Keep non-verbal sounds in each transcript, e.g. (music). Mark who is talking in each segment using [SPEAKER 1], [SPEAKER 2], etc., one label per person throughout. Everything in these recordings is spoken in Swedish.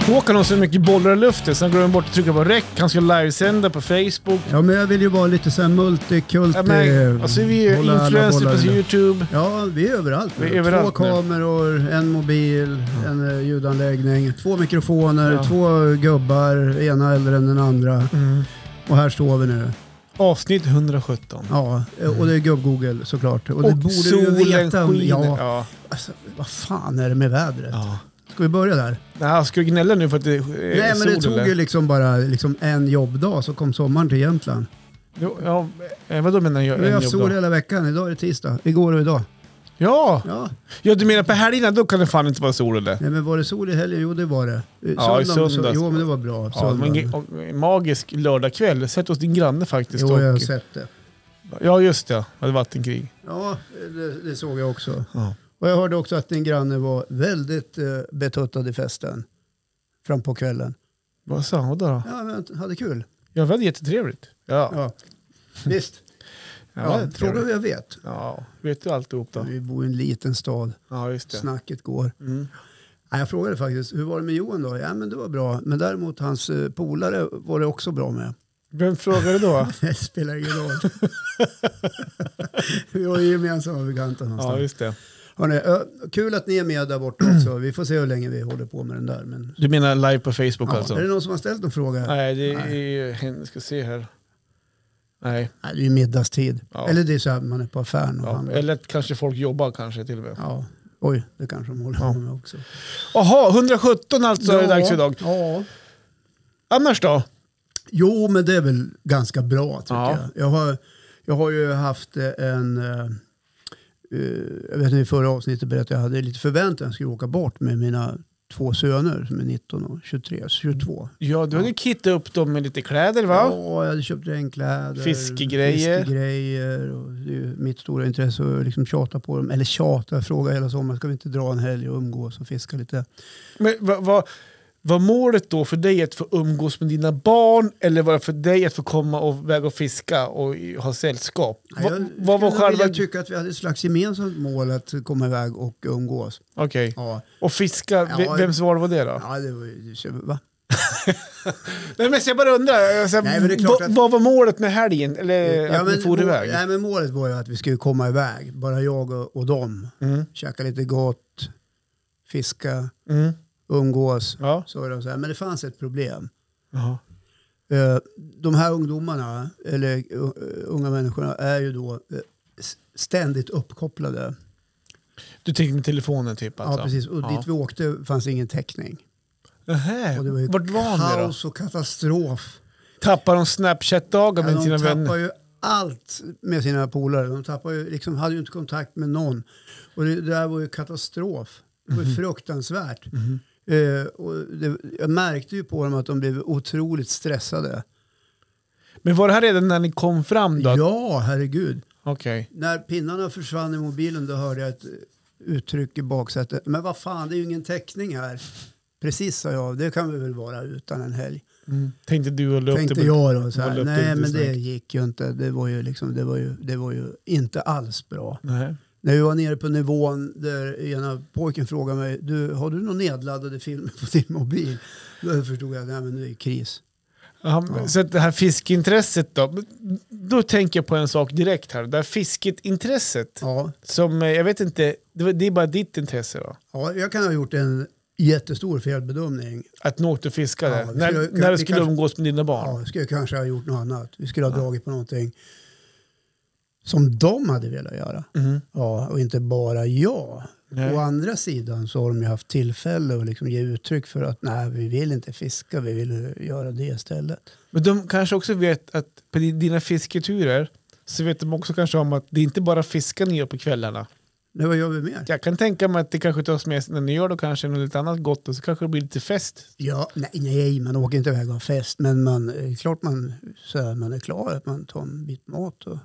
[SPEAKER 1] Håkan har så mycket bollar i luften så han glömmer bort att trycka på räck. Han ska livesända på Facebook.
[SPEAKER 2] Ja, men jag vill ju vara lite sån multikult.
[SPEAKER 1] Ja, men,
[SPEAKER 2] eh,
[SPEAKER 1] alltså vi är
[SPEAKER 2] hålla alla
[SPEAKER 1] influencers
[SPEAKER 2] bollar i
[SPEAKER 1] på
[SPEAKER 2] luften.
[SPEAKER 1] YouTube.
[SPEAKER 2] Ja, vi är överallt. nu.
[SPEAKER 1] Vi är överallt
[SPEAKER 2] två
[SPEAKER 1] nu.
[SPEAKER 2] kameror, en mobil, en eh, ljudanläggning, två mikrofoner, två gubbar, ena äldre än den andra. Och här står vi nu.
[SPEAKER 1] Avsnitt 117.
[SPEAKER 2] Ja, eh, och det är gubb-Google såklart. Och, det
[SPEAKER 1] Och
[SPEAKER 2] borde du
[SPEAKER 1] solen
[SPEAKER 2] ju veta. om-
[SPEAKER 1] skiner.
[SPEAKER 2] Ja,
[SPEAKER 1] Ja.
[SPEAKER 2] alltså, vad fan är det med vädret?
[SPEAKER 1] Ja.
[SPEAKER 2] Ska vi börja där?
[SPEAKER 1] Nej, jag ska du gnälla nu för att det eh, är
[SPEAKER 2] Nej, men det
[SPEAKER 1] sol, eller?
[SPEAKER 2] tog ju liksom bara liksom en jobbdag så kom sommaren till Jämtland.
[SPEAKER 1] Jo, ja, eh, vadå menar jag?
[SPEAKER 2] Vi har
[SPEAKER 1] En
[SPEAKER 2] haft
[SPEAKER 1] jobb
[SPEAKER 2] sol
[SPEAKER 1] då?
[SPEAKER 2] hela veckan. Idag är det tisdag. Igår och idag.
[SPEAKER 1] Ja.
[SPEAKER 2] Ja.
[SPEAKER 1] ja, du menar på helgerna då kan det fan inte vara sol eller?
[SPEAKER 2] Nej, men var det sol i helgen? Jo, det var det. Eh,
[SPEAKER 1] Ja, i söndags.
[SPEAKER 2] Jo, men det var bra.
[SPEAKER 1] Ja, det var en
[SPEAKER 2] Söndagen.
[SPEAKER 1] ge- och- en magisk lördagkväll. Sett hos din granne faktiskt.
[SPEAKER 2] Jo,
[SPEAKER 1] och-
[SPEAKER 2] jag har sett det.
[SPEAKER 1] ja just det. Det var vattenkrig.
[SPEAKER 2] Ja, det, det såg jag också.
[SPEAKER 1] Ja.
[SPEAKER 2] Och jag hörde också att din granne var väldigt eh, betuttad i festen. Fram på kvällen.
[SPEAKER 1] Vad sa hon då? då?
[SPEAKER 2] Ja, men hade kul.
[SPEAKER 1] Ja, det var jättetrevligt. Ja.
[SPEAKER 2] Ja. Visst.
[SPEAKER 1] Ja, det
[SPEAKER 2] Ja,
[SPEAKER 1] var
[SPEAKER 2] fråga
[SPEAKER 1] trevligt.
[SPEAKER 2] hur jag vet.
[SPEAKER 1] Ja, vet du alltihop då?
[SPEAKER 2] Vi bor i en liten stad.
[SPEAKER 1] Ja, just det.
[SPEAKER 2] Snacket går.
[SPEAKER 1] Mm.
[SPEAKER 2] Ja, jag frågade faktiskt, hur var det med Johan då? Ja, men det var bra. Men däremot hans eh, polare var det också bra med.
[SPEAKER 1] Vem frågade
[SPEAKER 2] (laughs)
[SPEAKER 1] då?
[SPEAKER 2] Det spelar ingen
[SPEAKER 1] (laughs)
[SPEAKER 2] roll. Vi har ju gemensamma bekanta
[SPEAKER 1] ja,
[SPEAKER 2] någonstans.
[SPEAKER 1] just det.
[SPEAKER 2] Hörrni, ö, kul att ni är med där borta också. Vi får se hur länge vi håller på med den där. Men,
[SPEAKER 1] Du menar live på Facebook
[SPEAKER 2] ja,
[SPEAKER 1] alltså?
[SPEAKER 2] Är det någon som har ställt någon fråga? Nej.
[SPEAKER 1] Nej, det är... Jag ska se här. Nej.
[SPEAKER 2] det är ju middagstid.
[SPEAKER 1] Ja.
[SPEAKER 2] Eller det är så här man är på affären och
[SPEAKER 1] Ja.
[SPEAKER 2] handlar.
[SPEAKER 1] Eller att kanske folk jobbar kanske till och med.
[SPEAKER 2] Ja. Oj, det kanske de håller på med också.
[SPEAKER 1] Jaha, 117 alltså är det dags för idag.
[SPEAKER 2] Ja.
[SPEAKER 1] Annars då?
[SPEAKER 2] Jo, men det är väl ganska bra tycker
[SPEAKER 1] Ja.
[SPEAKER 2] jag. Jag har, jag har ju haft eh, en... eh, eh, jag vet inte, i förra avsnittet berättade jag att jag hade lite förväntan att jag skulle åka bort med mina två söner som är 19 och alltså 23, 22.
[SPEAKER 1] Ja, du hade ju kittat upp dem med lite kläder va?
[SPEAKER 2] Ja, jag hade köpt regnkläder.
[SPEAKER 1] Fiskegrejer.
[SPEAKER 2] fiskegrejer och det är ju mitt stora intresse att liksom tjata på dem. Eller tjata, fråga hela sommaren. Ska vi inte dra en helg och umgås och fiska lite?
[SPEAKER 1] Men vad va, var målet då för dig att få umgås med dina barn eller var det för dig att få komma och väga och fiska och i- ha sällskap?
[SPEAKER 2] Nej,
[SPEAKER 1] Va,
[SPEAKER 2] jag
[SPEAKER 1] vad var
[SPEAKER 2] skulle vilja
[SPEAKER 1] själva...
[SPEAKER 2] tycka att vi hade ett slags gemensamt mål att komma iväg och umgås.
[SPEAKER 1] Okej.
[SPEAKER 2] Ja.
[SPEAKER 1] Och fiska, ve-
[SPEAKER 2] Ja,
[SPEAKER 1] vems val var det då?
[SPEAKER 2] Ja, det var ju... Va?
[SPEAKER 1] Nej, men så jag bara undrar, alltså,
[SPEAKER 2] Nej, men det är klart
[SPEAKER 1] va,
[SPEAKER 2] att-
[SPEAKER 1] vad var målet med helgen? Eller Eh, att ni for
[SPEAKER 2] må-
[SPEAKER 1] iväg?
[SPEAKER 2] Nej, men målet var ju att vi skulle komma iväg, bara jag och, och dem.
[SPEAKER 1] Mm,
[SPEAKER 2] Käka lite gott, fiska,
[SPEAKER 1] mm,
[SPEAKER 2] umgås.
[SPEAKER 1] ja.
[SPEAKER 2] Så är det så här. Men det fanns ett problem.
[SPEAKER 1] Jaha.
[SPEAKER 2] Eh, De här ungdomarna, eller eh, unga människorna, är ju då eh, s- ständigt uppkopplade.
[SPEAKER 1] Du tänker med telefonen typ alltså?
[SPEAKER 2] Ja, precis. Och
[SPEAKER 1] Ja.
[SPEAKER 2] dit vi åkte fanns ingen täckning.
[SPEAKER 1] Nähä,
[SPEAKER 2] Och det var ju
[SPEAKER 1] Vart var han då?
[SPEAKER 2] kaos och katastrof.
[SPEAKER 1] Tappar de Snapchat-dagar
[SPEAKER 2] Ja,
[SPEAKER 1] med sina
[SPEAKER 2] de
[SPEAKER 1] vänner?
[SPEAKER 2] tappar ju allt med sina polare. De tappar ju, liksom, hade ju inte kontakt med någon. Och det, det där var ju katastrof. Det
[SPEAKER 1] Mhm.
[SPEAKER 2] var ju fruktansvärt. Eh, och det, jag märkte ju på dem att de blev otroligt stressade.
[SPEAKER 1] Men var det här redan när ni kom fram då?
[SPEAKER 2] Ja, herregud.
[SPEAKER 1] Okej.
[SPEAKER 2] När pinnarna försvann i mobilen då hörde jag ett eh, uttryck i baksätet. Men vad fan, det är ju ingen täckning här. Precis sa jag, det kan vi väl vara utan en helg.
[SPEAKER 1] Mm. Tänkte du och la upp
[SPEAKER 2] Tänkte
[SPEAKER 1] det på-
[SPEAKER 2] jag då. Så
[SPEAKER 1] hålla
[SPEAKER 2] här.
[SPEAKER 1] upp det
[SPEAKER 2] Nej,
[SPEAKER 1] lite
[SPEAKER 2] men det
[SPEAKER 1] snyggt.
[SPEAKER 2] gick ju inte. Det var ju, liksom, det var ju, det var ju inte alls bra.
[SPEAKER 1] Nej.
[SPEAKER 2] När vi var nere på nivån där ena pojken frågade mig, du, har du några nedladdade filmer på din mobil? Då förstod jag, nej men nu är det kris.
[SPEAKER 1] Ja, men Så att det här fiskintresset då? Då tänker jag på en sak direkt här. Det här fisketintresset.
[SPEAKER 2] Ja,
[SPEAKER 1] Som, eh, jag vet inte, det, var- det är bara ditt intresse då?
[SPEAKER 2] ja jag kan ha gjort en jättestor felbedömning.
[SPEAKER 1] Att ni åkte och fiskade?
[SPEAKER 2] Ja, vi
[SPEAKER 1] när,
[SPEAKER 2] skulle-
[SPEAKER 1] när du
[SPEAKER 2] vi
[SPEAKER 1] skulle
[SPEAKER 2] kanske-
[SPEAKER 1] umgås med dina barn?
[SPEAKER 2] Ja, skulle jag kanske ha gjort något annat. Vi skulle ha dragit på någonting som de hade velat göra.
[SPEAKER 1] Mhm.
[SPEAKER 2] Ja, och inte bara jag.
[SPEAKER 1] Nej.
[SPEAKER 2] Å andra sidan så har de ju haft tillfälle att liksom ge uttryck för att nej, vi vill inte fiska, vi vill eh, göra det istället.
[SPEAKER 1] Men de kanske också vet att på di- dina fisketurer så vet de också kanske om att det är inte bara fiskar ni gör på kvällarna.
[SPEAKER 2] Nu vad gör vi mer?
[SPEAKER 1] Jag kan tänka mig att det kanske tas med sig när ni gör då kanske något lite annat gott och så kanske det blir lite fest.
[SPEAKER 2] Ja, nej, nej, man åker inte iväg och har fest. Men man, eh, klart man, så här, man är klar att man tar en bit mat och,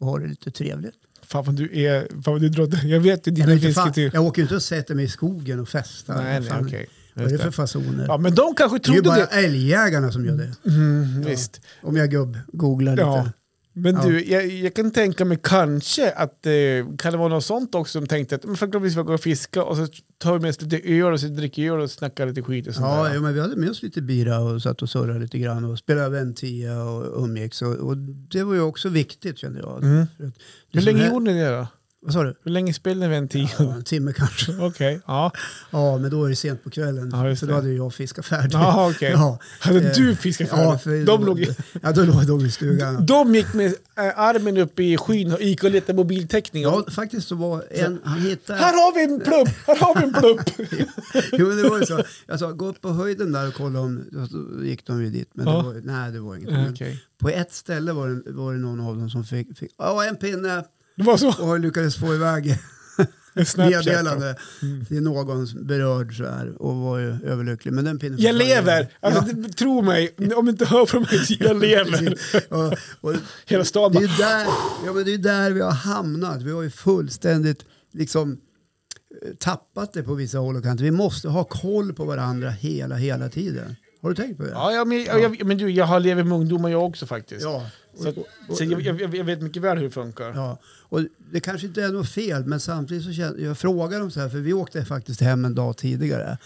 [SPEAKER 2] och har det lite trevligt.
[SPEAKER 1] Fan vad du är, fan vad du drar, (laughs) jag vet ju
[SPEAKER 2] Jag,
[SPEAKER 1] dina
[SPEAKER 2] vet, inte, fan,
[SPEAKER 1] fisketurer.
[SPEAKER 2] jag åker ju inte och sätter mig i skogen och festar.
[SPEAKER 1] Nej,
[SPEAKER 2] Vad
[SPEAKER 1] nej,
[SPEAKER 2] fan,
[SPEAKER 1] okej.
[SPEAKER 2] Vad är det
[SPEAKER 1] Just
[SPEAKER 2] för
[SPEAKER 1] det.
[SPEAKER 2] fasoner?
[SPEAKER 1] Ja, men de kanske
[SPEAKER 2] det är ju
[SPEAKER 1] trodde
[SPEAKER 2] bara
[SPEAKER 1] det.
[SPEAKER 2] älgjägarna som gör det.
[SPEAKER 1] Mm, Visst.
[SPEAKER 2] Om jag gubb-googlar lite.
[SPEAKER 1] Ja. Men
[SPEAKER 2] Ja.
[SPEAKER 1] du, jag, jag kan tänka mig kanske att eh, kan det vara något sånt också som tänkte att men förhoppningsvis vi går och fiska och så tar vi med oss lite öl och så dricker öl och snackar lite skit och sånt
[SPEAKER 2] Ja,
[SPEAKER 1] där.
[SPEAKER 2] jo, men vi hade med oss lite bira och satt och surrade lite grann och spelade ventia och umgicks. Och, och det var ju också viktigt kände jag.
[SPEAKER 1] Mm.
[SPEAKER 2] För att det
[SPEAKER 1] Hur
[SPEAKER 2] som
[SPEAKER 1] länge
[SPEAKER 2] här-
[SPEAKER 1] gjorde ni det då?
[SPEAKER 2] Vad sa du?
[SPEAKER 1] Hur länge spelade ni Ventil?
[SPEAKER 2] Ja, en timme kanske.
[SPEAKER 1] (laughs) Okej, ja.
[SPEAKER 2] Ja, men då är det sent på kvällen.
[SPEAKER 1] Ja, just
[SPEAKER 2] så då
[SPEAKER 1] det.
[SPEAKER 2] hade ju jag fiskat färdigt.
[SPEAKER 1] Jaha, okej.
[SPEAKER 2] Ja,
[SPEAKER 1] Hade
[SPEAKER 2] Eh,
[SPEAKER 1] du fiskat för
[SPEAKER 2] ja,
[SPEAKER 1] ja,
[SPEAKER 2] för
[SPEAKER 1] de, låg,
[SPEAKER 2] Ja, då låg de i stugan.
[SPEAKER 1] de gick med eh, armen upp i skyn och gick och letade mobiltäckning.
[SPEAKER 2] Ja, faktiskt så var en, han hittade...
[SPEAKER 1] Alltså, Här har vi en plupp! Här har vi en
[SPEAKER 2] (laughs)
[SPEAKER 1] plupp!
[SPEAKER 2] Jo, men det var ju så. Jag sa, gå upp på höjden där och kolla om... Då gick de ju dit, men
[SPEAKER 1] Ja.
[SPEAKER 2] det var, ju- nej, det var inget.
[SPEAKER 1] Ja,
[SPEAKER 2] Men
[SPEAKER 1] okej.
[SPEAKER 2] På ett ställe var det, var det någon av dem som fick... fick ja, en pinne!
[SPEAKER 1] Det var så.
[SPEAKER 2] Och lyckades få iväg
[SPEAKER 1] Snapchat. Mm.
[SPEAKER 2] meddelande till någon som berörd så här och var ju överlycklig. Men den pinnen
[SPEAKER 1] Jag
[SPEAKER 2] försvann
[SPEAKER 1] lever!
[SPEAKER 2] igen.
[SPEAKER 1] Alltså,
[SPEAKER 2] Ja,
[SPEAKER 1] det- Tro mig, om du inte hör från mig, så
[SPEAKER 2] (laughs)
[SPEAKER 1] jag lever.
[SPEAKER 2] precis. Ja, och
[SPEAKER 1] Hela stan
[SPEAKER 2] Det är
[SPEAKER 1] bara,
[SPEAKER 2] ju där, ja, men det är där vi har hamnat. Vi har ju fullständigt liksom eh, tappat det på vissa håll och kanter. Vi måste ha koll på varandra hela, hela tiden. Har du tänkt på det?
[SPEAKER 1] ja, ja, men, ja. Jag, men du, jag har levt med ungdomar jag också faktiskt.
[SPEAKER 2] Ja.
[SPEAKER 1] Så,
[SPEAKER 2] Och,
[SPEAKER 1] att- så jag, jag, jag vet mycket väl hur det funkar.
[SPEAKER 2] ja. och det kanske inte är något fel, men samtidigt så känner jag frågar dem så här, för vi åkte faktiskt hem en dag tidigare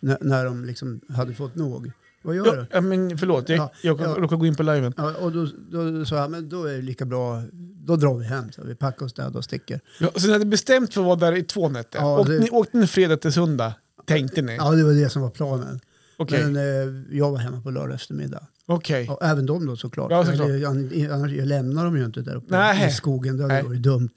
[SPEAKER 2] när, när de liksom hade fått nog. Vad gör
[SPEAKER 1] Ja,
[SPEAKER 2] du?
[SPEAKER 1] ja, men förlåt, jag,
[SPEAKER 2] Ja,
[SPEAKER 1] jag
[SPEAKER 2] ja.
[SPEAKER 1] råkade gå in på liven.
[SPEAKER 2] Ja, och då, då sa jag, men då är det lika bra, då drar vi hem. Så vi packar oss där och sticker.
[SPEAKER 1] Ja, så ni hade bestämt för att vara där i två nätter?
[SPEAKER 2] Ja,
[SPEAKER 1] åkte,
[SPEAKER 2] det-
[SPEAKER 1] ni, åkte ni fredag till söndag? Tänkte ni?
[SPEAKER 2] Ja, det var det som var planen.
[SPEAKER 1] Okej.
[SPEAKER 2] Men eh, jag var hemma på lördag eftermiddag.
[SPEAKER 1] Okej.
[SPEAKER 2] Ja, även de då såklart.
[SPEAKER 1] Ja, såklart.
[SPEAKER 2] Eller, an- Annars jag lämnar dem ju inte där uppe
[SPEAKER 1] Nej.
[SPEAKER 2] i skogen. Det hade
[SPEAKER 1] Nej.
[SPEAKER 2] varit dumt.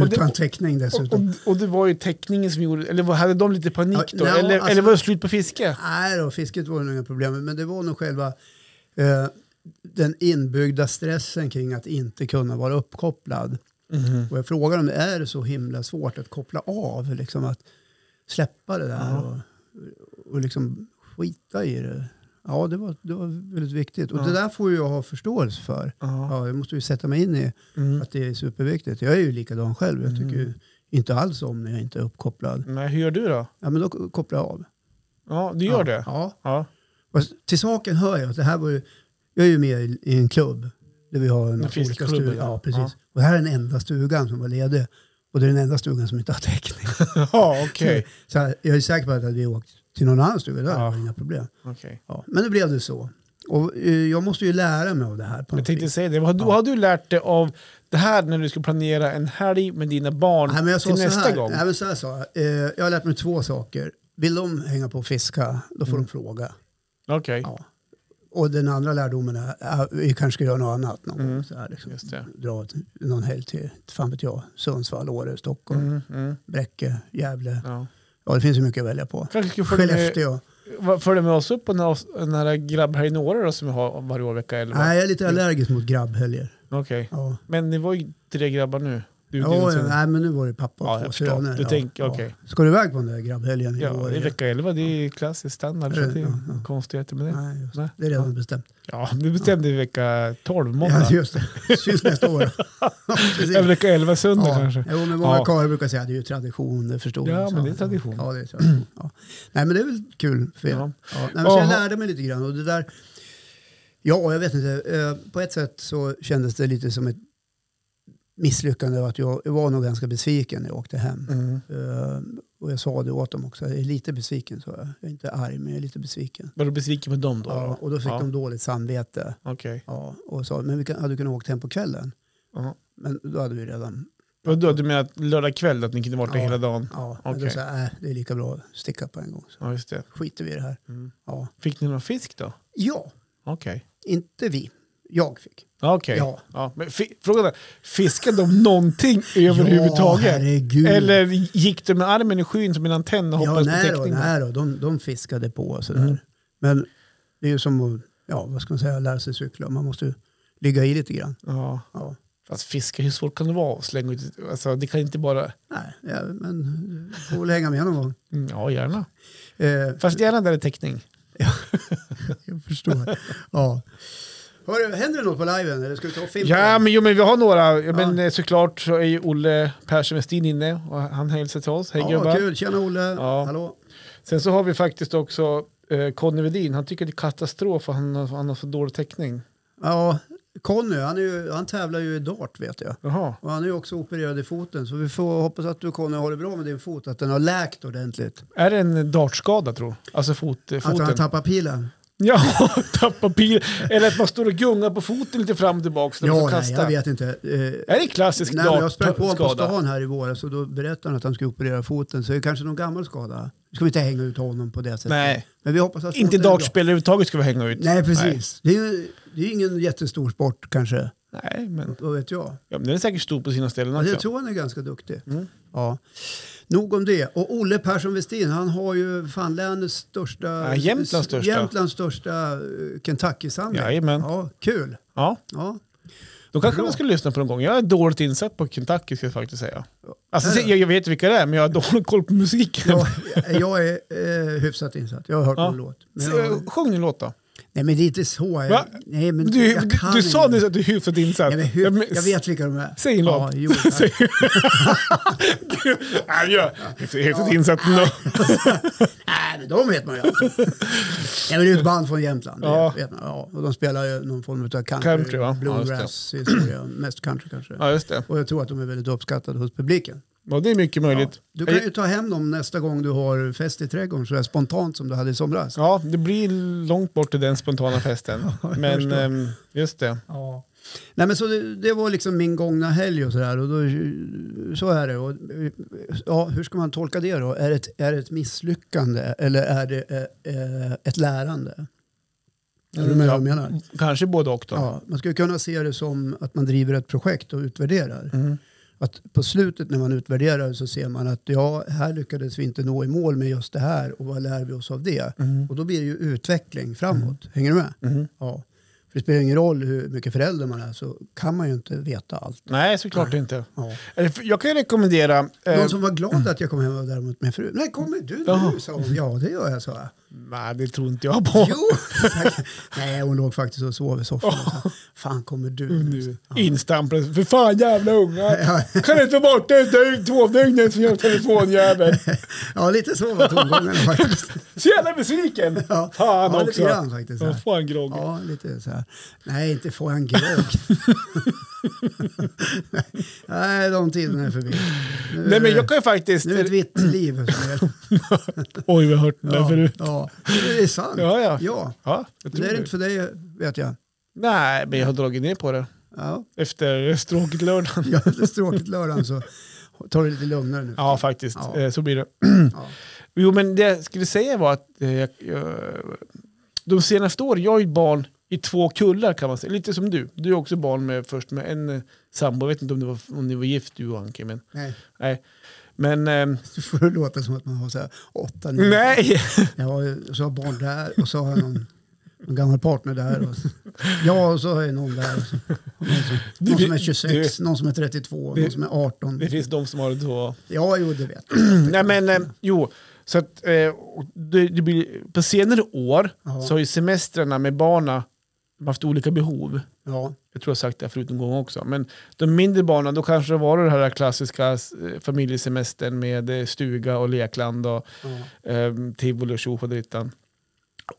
[SPEAKER 1] Och det-
[SPEAKER 2] Utan täckning
[SPEAKER 1] Och,
[SPEAKER 2] dessutom.
[SPEAKER 1] och, och det var ju teckningen som gjorde... Eller vad- hade de lite panik
[SPEAKER 2] Ja,
[SPEAKER 1] då?
[SPEAKER 2] nej,
[SPEAKER 1] eller,
[SPEAKER 2] alltså-
[SPEAKER 1] eller var det slut på fiske?
[SPEAKER 2] Nej då, fisket var nog inga problem. Men det var nog själva eh, den inbyggda stressen kring att inte kunna vara uppkopplad. Och jag frågar om det är så himla svårt att koppla av. Liksom att släppa det där och, och liksom skita i det. Ja, det var, det var väldigt viktigt. Och det där får ju jag ha förståelse för.
[SPEAKER 1] Ja. mm.
[SPEAKER 2] Ja, jag måste ju sätta mig in i att det är superviktigt. Jag är ju likadan själv. Jag tycker ju inte alls om när jag inte är uppkopplad.
[SPEAKER 1] Nej, hur gör du då?
[SPEAKER 2] Ja, men då k- kopplar jag av.
[SPEAKER 1] Ja, du gör
[SPEAKER 2] ja,
[SPEAKER 1] det?
[SPEAKER 2] Ja.
[SPEAKER 1] Ja.
[SPEAKER 2] Och s- till saken hör jag att det här var ju, jag är ju med i, i en klubb där vi har en massa olika
[SPEAKER 1] fiskklubben,
[SPEAKER 2] stugor.
[SPEAKER 1] ja.
[SPEAKER 2] Ja, precis.
[SPEAKER 1] Ja.
[SPEAKER 2] Och det här är den enda stugan som var ledig. Och det är den enda stugan som inte har täckning.
[SPEAKER 1] Ja, (laughs) okej.
[SPEAKER 2] (laughs) Så här, jag är säker på att hade vi åkt till någon annan stuga, då hade
[SPEAKER 1] Ja.
[SPEAKER 2] det varit inga problem.
[SPEAKER 1] (laughs) Okej.
[SPEAKER 2] Ja. Men nu blev det så. Och eh, jag måste ju lära mig av det här. På
[SPEAKER 1] Jag
[SPEAKER 2] något
[SPEAKER 1] tänkte
[SPEAKER 2] vis.
[SPEAKER 1] säga det. Vad har, du,
[SPEAKER 2] Ja.
[SPEAKER 1] har du lärt dig av det här när du ska planera en helg med dina barn
[SPEAKER 2] Nej, men jag sa
[SPEAKER 1] till
[SPEAKER 2] så
[SPEAKER 1] nästa
[SPEAKER 2] här.
[SPEAKER 1] gång?
[SPEAKER 2] Nej, men så här sa jag. Eh, jag har lärt mig två saker. Vill de hänga på och fiska, då
[SPEAKER 1] Mm.
[SPEAKER 2] får de fråga.
[SPEAKER 1] Okej,
[SPEAKER 2] Ja. Och den andra lärdomen är att vi kanske ska göra något annat någon gång. Så här, liksom.
[SPEAKER 1] Mm. just det.
[SPEAKER 2] Dra t- någon helg till, fan vet jag, Sundsvall, Åre, Stockholm,
[SPEAKER 1] Mm, mm,
[SPEAKER 2] Bräcke, Gävle. Ja.
[SPEAKER 1] ja.
[SPEAKER 2] det finns ju mycket att välja på.
[SPEAKER 1] Kanske ska följa med,
[SPEAKER 2] Skellefteå.
[SPEAKER 1] va- följa med oss upp på den här, avs- den här grabbhelgen i Åre då, som vi har varje år vecka 11?
[SPEAKER 2] Nej, jag är lite allergisk mot grabbhelger.
[SPEAKER 1] Okej.
[SPEAKER 2] Ja.
[SPEAKER 1] Men det var ju tre grabbar nu. Du, din
[SPEAKER 2] Ja,
[SPEAKER 1] och
[SPEAKER 2] ja,
[SPEAKER 1] sen-
[SPEAKER 2] nej, men nu var det pappa och
[SPEAKER 1] Ja,
[SPEAKER 2] två
[SPEAKER 1] jag förstår.
[SPEAKER 2] söner.
[SPEAKER 1] Du tänker- okej.
[SPEAKER 2] Ska du iväg på den där grabbhelgen? i
[SPEAKER 1] ja,
[SPEAKER 2] år?
[SPEAKER 1] det är vecka 11, det är klassisk standard. Så
[SPEAKER 2] Ja,
[SPEAKER 1] det är
[SPEAKER 2] ja,
[SPEAKER 1] inga konstigheter med det.
[SPEAKER 2] Nej, just,
[SPEAKER 1] Nej.
[SPEAKER 2] det är redan bestämt.
[SPEAKER 1] Ja, nu bestämde vi vecka 12, måndag.
[SPEAKER 2] Ja, just det. Syns
[SPEAKER 1] (laughs)
[SPEAKER 2] nästa år. Ja, precis.
[SPEAKER 1] Eller vecka 11, söndag
[SPEAKER 2] ja.
[SPEAKER 1] kanske.
[SPEAKER 2] Jo, men många
[SPEAKER 1] Ja.
[SPEAKER 2] karlar brukar säga att det är ju tradition, det förstår
[SPEAKER 1] Ja,
[SPEAKER 2] jag.
[SPEAKER 1] men det är tradition.
[SPEAKER 2] Ja, det är tradition. Ja. Nej, men det är väl kul för er.
[SPEAKER 1] Ja.
[SPEAKER 2] Ja. Nej, men så jag
[SPEAKER 1] Jaha.
[SPEAKER 2] lärde mig lite grann och det där, ja, jag vet inte, eh, på ett sätt så kändes det lite som ett misslyckande och att jag, jag var nog ganska besviken när jag åkte hem.
[SPEAKER 1] Mm.
[SPEAKER 2] Eh, och jag sa det åt dem också, jag är lite besviken sa jag. Jag är inte arg, men jag är lite besviken.
[SPEAKER 1] Var du besviken med dem då?
[SPEAKER 2] Ja, och då fick
[SPEAKER 1] Ja.
[SPEAKER 2] de dåligt samvete.
[SPEAKER 1] Okej.
[SPEAKER 2] Ja, och sa, men vi kan, hade du kunnat åkt hem på kvällen?
[SPEAKER 1] Ja.
[SPEAKER 2] Men då hade vi redan
[SPEAKER 1] Och då, du menar att lördag kväll, att ni kunde varit där
[SPEAKER 2] Ja.
[SPEAKER 1] hela dagen?
[SPEAKER 2] Ja, men då
[SPEAKER 1] Okej.
[SPEAKER 2] sa jag, äh, det är lika bra att sticka på en gång. Så
[SPEAKER 1] Ja, just det.
[SPEAKER 2] skiter vi i det här.
[SPEAKER 1] Mm.
[SPEAKER 2] Ja,
[SPEAKER 1] Fick ni någon fisk då?
[SPEAKER 2] ja
[SPEAKER 1] Okej.
[SPEAKER 2] inte vi. Jag fick.
[SPEAKER 1] Ja, Okej.
[SPEAKER 2] Ja.
[SPEAKER 1] Ja, men fi- frågan är, fiskade de någonting överhuvudtaget?
[SPEAKER 2] (laughs) Ja, herregud.
[SPEAKER 1] Eller gick de med armen i skyn som en antenn och
[SPEAKER 2] ja,
[SPEAKER 1] hoppades
[SPEAKER 2] nej
[SPEAKER 1] på Mm.
[SPEAKER 2] då,
[SPEAKER 1] täckningen?
[SPEAKER 2] nej då. De, de fiskade på och sådär. Men det är ju som att, ja, vad ska man säga, lära sig cykla. Man måste ju ligga i lite grann.
[SPEAKER 1] Ja.
[SPEAKER 2] Ja,
[SPEAKER 1] Fast fiska, hur svårt kan det vara att slänga ut? Alltså, det kan inte bara...
[SPEAKER 2] nej, ja, men du får väl hänga med någon gång.
[SPEAKER 1] Mm, Ja, gärna. (laughs)
[SPEAKER 2] Eh,
[SPEAKER 1] Fast gärna där det är täckning.
[SPEAKER 2] jag förstår. (laughs) ja. Hörru, händer det något på liven? Eller ska vi ta och filma?
[SPEAKER 1] Ja, men, jo, men vi har några. Ja,
[SPEAKER 2] Ja.
[SPEAKER 1] Men eh, såklart så är ju Olle Persson Westin inne och han hälsar till oss. Hej
[SPEAKER 2] ja,
[SPEAKER 1] gubbar.
[SPEAKER 2] kul. Tjena Olle.
[SPEAKER 1] Ja.
[SPEAKER 2] Hallå.
[SPEAKER 1] Sen så har vi faktiskt också eh, Conny Vedin. Han tycker det är katastrof och han, har- han har så dålig täckning.
[SPEAKER 2] Ja, Conny, han, är ju, han tävlar ju i dart vet jag.
[SPEAKER 1] Jaha.
[SPEAKER 2] Och han är ju också opererad i foten. Så vi får hoppas att du Conny har det bra med din fot, att den har läkt ordentligt.
[SPEAKER 1] Är det en dartskada tror du? Alltså fot, eh,
[SPEAKER 2] Att
[SPEAKER 1] foten?
[SPEAKER 2] han tappar pilen.
[SPEAKER 1] ja, (laughs) tappa pil. Eller att man står och gungar på foten lite fram och tillbaka. så man
[SPEAKER 2] Ja,
[SPEAKER 1] får
[SPEAKER 2] nej,
[SPEAKER 1] kasta.
[SPEAKER 2] jag vet inte. Eh,
[SPEAKER 1] Är det klassisk
[SPEAKER 2] Nej, men jag sprang på honom på
[SPEAKER 1] dartskada?
[SPEAKER 2] stan här i våras och då berättade han att han skulle operera foten. Så det är kanske någon gammal skada. Nu ska vi inte hänga ut honom på det sättet.
[SPEAKER 1] Nej,
[SPEAKER 2] Men vi hoppas att
[SPEAKER 1] inte
[SPEAKER 2] foten är bra.
[SPEAKER 1] dartspelare överhuvudtaget ska vi hänga ut.
[SPEAKER 2] Nej, precis. Det är ju det är ju ingen jättestor sport kanske.
[SPEAKER 1] Nej, Nej, men
[SPEAKER 2] Vad vet jag.
[SPEAKER 1] ja, men den är säkert stor på sina ställen
[SPEAKER 2] Men
[SPEAKER 1] också. Mm.
[SPEAKER 2] jag tror han är ganska duktig. Ja. Nog om det. Och Olle Persson Westin, han har ju fan länets största...
[SPEAKER 1] Ja, Jämtlands största.
[SPEAKER 2] Jämtlands största eh, Kentucky-samling.
[SPEAKER 1] Jajamän.
[SPEAKER 2] Ja, kul.
[SPEAKER 1] Ja,
[SPEAKER 2] Ja.
[SPEAKER 1] då kanske
[SPEAKER 2] Bra.
[SPEAKER 1] man skulle lyssna på någon gång. Jag är dåligt insatt på Kentucky ska jag faktiskt säga. Alltså,
[SPEAKER 2] Är det?
[SPEAKER 1] jag, jag vet vilka det är, men jag har dålig koll på musiken.
[SPEAKER 2] Jag, jag är eh, hyfsat insatt. Jag har hört
[SPEAKER 1] Ja.
[SPEAKER 2] någon låt.
[SPEAKER 1] (laughs)
[SPEAKER 2] Men
[SPEAKER 1] Så,
[SPEAKER 2] jag,
[SPEAKER 1] eh, Sjung en låt då.
[SPEAKER 2] nej, men det är inte så.
[SPEAKER 1] Va?
[SPEAKER 2] Jag, nej, men
[SPEAKER 1] Du,
[SPEAKER 2] jag
[SPEAKER 1] du,
[SPEAKER 2] kan
[SPEAKER 1] du sa
[SPEAKER 2] inte.
[SPEAKER 1] nyss att du är hyfsat insatt.
[SPEAKER 2] Nej, men
[SPEAKER 1] Ja, men-
[SPEAKER 2] hur, jag vet vilka de är.
[SPEAKER 1] Säg en
[SPEAKER 2] ja,
[SPEAKER 1] låt.
[SPEAKER 2] jo, tack.
[SPEAKER 1] Säg- (laughs) Nej, jag är hyfsat insatt ändå.
[SPEAKER 2] Nej, men de vet man
[SPEAKER 1] (laughs)
[SPEAKER 2] ju. alltid. Nej, men det är ju ett band från Jämtland. det
[SPEAKER 1] Ja.
[SPEAKER 2] Vet man. Ja, och de spelar ju någon form av country,
[SPEAKER 1] Country, va? Ja, just det.
[SPEAKER 2] bluegrass, historia. mest country kanske.
[SPEAKER 1] Ja, just det.
[SPEAKER 2] Och jag tror att de är väldigt uppskattade hos publiken.
[SPEAKER 1] Ja, det är mycket
[SPEAKER 2] Ja.
[SPEAKER 1] möjligt.
[SPEAKER 2] Du kan ju ta hem dem nästa gång du har fest i trädgården, så här spontant som du hade i somras.
[SPEAKER 1] Ja, det blir långt bort till den spontana
[SPEAKER 2] (laughs)
[SPEAKER 1] festen.
[SPEAKER 2] jag
[SPEAKER 1] Men
[SPEAKER 2] förstår.
[SPEAKER 1] ehm, just det.
[SPEAKER 2] Ja. Nej, men så det, det var liksom min gångna helg och sådär. Och då, så är det. Och, ja, hur ska man tolka det då? Är det ett, är det ett misslyckande eller är det eh, eh, ett lärande? Är du med vad jag menar?
[SPEAKER 1] Kanske både och då.
[SPEAKER 2] Ja, man skulle kunna se det som att man driver ett projekt och utvärderar.
[SPEAKER 1] Mm.
[SPEAKER 2] Att på slutet när man utvärderar så ser man att ja, här lyckades vi inte nå i mål med just det här och vad lär vi oss av det?
[SPEAKER 1] Mm.
[SPEAKER 2] Och då blir det ju utveckling framåt. Hänger du med?
[SPEAKER 1] Mm.
[SPEAKER 2] Ja. För det spelar ingen roll hur mycket förälder man är så kan man ju inte veta allt.
[SPEAKER 1] Nej, såklart inte.
[SPEAKER 2] Ja.
[SPEAKER 1] Eller, för- Jag kan ju rekommendera... eh,
[SPEAKER 2] Någon som var glad att jag kom hem var däremot min fru. Nej, kommer du
[SPEAKER 1] Jaha.
[SPEAKER 2] nu? sa hon. Ja, det gör jag, sa jag.
[SPEAKER 1] Nej, det tror inte jag på.
[SPEAKER 2] Jo! (laughs) Nej, hon låg faktiskt och sov i soffan. och sa, Fan, kommer du nu?
[SPEAKER 1] (laughs) Nu Instampades. För fan jävla unga.
[SPEAKER 2] (laughs) Ja.
[SPEAKER 1] Kan inte vara borta ett dygn, två dygn för jag telefonjävel.
[SPEAKER 2] Ja, lite så var
[SPEAKER 1] (laughs)
[SPEAKER 2] tongångarna faktiskt.
[SPEAKER 1] Så jävla besviken.
[SPEAKER 2] Ja.
[SPEAKER 1] Fan
[SPEAKER 2] Ja, lite
[SPEAKER 1] också.
[SPEAKER 2] grann faktiskt,
[SPEAKER 1] Ja,
[SPEAKER 2] ja.
[SPEAKER 1] fan grogg.
[SPEAKER 2] Ja, lite så här. Nej, inte
[SPEAKER 1] (laughs)
[SPEAKER 2] får han grogg. Nej, de tiderna är förbi. Nu,
[SPEAKER 1] Nej men jag kan ju faktiskt...
[SPEAKER 2] nu är det ett vitt liv. som
[SPEAKER 1] (laughs)
[SPEAKER 2] gäller.
[SPEAKER 1] Oj, vi har hört den där
[SPEAKER 2] Ja,
[SPEAKER 1] förut.
[SPEAKER 2] ja. Det är sant.
[SPEAKER 1] Ja, ja.
[SPEAKER 2] ja.
[SPEAKER 1] Ja, jag
[SPEAKER 2] Men Det
[SPEAKER 1] tror
[SPEAKER 2] är
[SPEAKER 1] det.
[SPEAKER 2] det inte för dig, vet jag.
[SPEAKER 1] Nej, men jag har dragit ner på det.
[SPEAKER 2] Ja,
[SPEAKER 1] Efter stråket lördagen.
[SPEAKER 2] jag hade stråkigt lördagen så tar det lite lugnare nu.
[SPEAKER 1] (laughs) Ja, faktiskt.
[SPEAKER 2] Ja.
[SPEAKER 1] Eh, Så blir det.
[SPEAKER 2] Ja.
[SPEAKER 1] Jo, men det jag skulle säga var att eh, jag, jag, de senaste åren, jag är ju barn i två kullar kan man säga. Lite som du. Du är också barn med, först med en eh, sambo. Jag vet inte om, det var, om ni var gift du och Anke. Men,
[SPEAKER 2] Nej,
[SPEAKER 1] nej. Men, ehm,
[SPEAKER 2] så får det låta som att man har så här åtta, nio.
[SPEAKER 1] nej!
[SPEAKER 2] Jag har ju- så har barn där och så har jag någon, någon gammal partner där. Och, ja, och så har jag någon där. Och så, och någon, som,
[SPEAKER 1] (laughs) Du-
[SPEAKER 2] någon som är 26,
[SPEAKER 1] du-
[SPEAKER 2] någon som är 32,
[SPEAKER 1] du-
[SPEAKER 2] någon som är 18.
[SPEAKER 1] Det finns de som har det så.
[SPEAKER 2] Ja, jo, det vet jag.
[SPEAKER 1] Nej men eh, jo, så att, eh, och det, det blir, på senare år
[SPEAKER 2] Ja.
[SPEAKER 1] så har ju semestrarna med barna haft olika behov.
[SPEAKER 2] Ja,
[SPEAKER 1] Jag tror jag har sagt det här förut en gång också. Men de mindre barnen, då kanske det var det här klassiska eh, familjesemestern med eh, stuga och lekland och
[SPEAKER 2] ja.
[SPEAKER 1] eh, tivoli och tjofaderittan.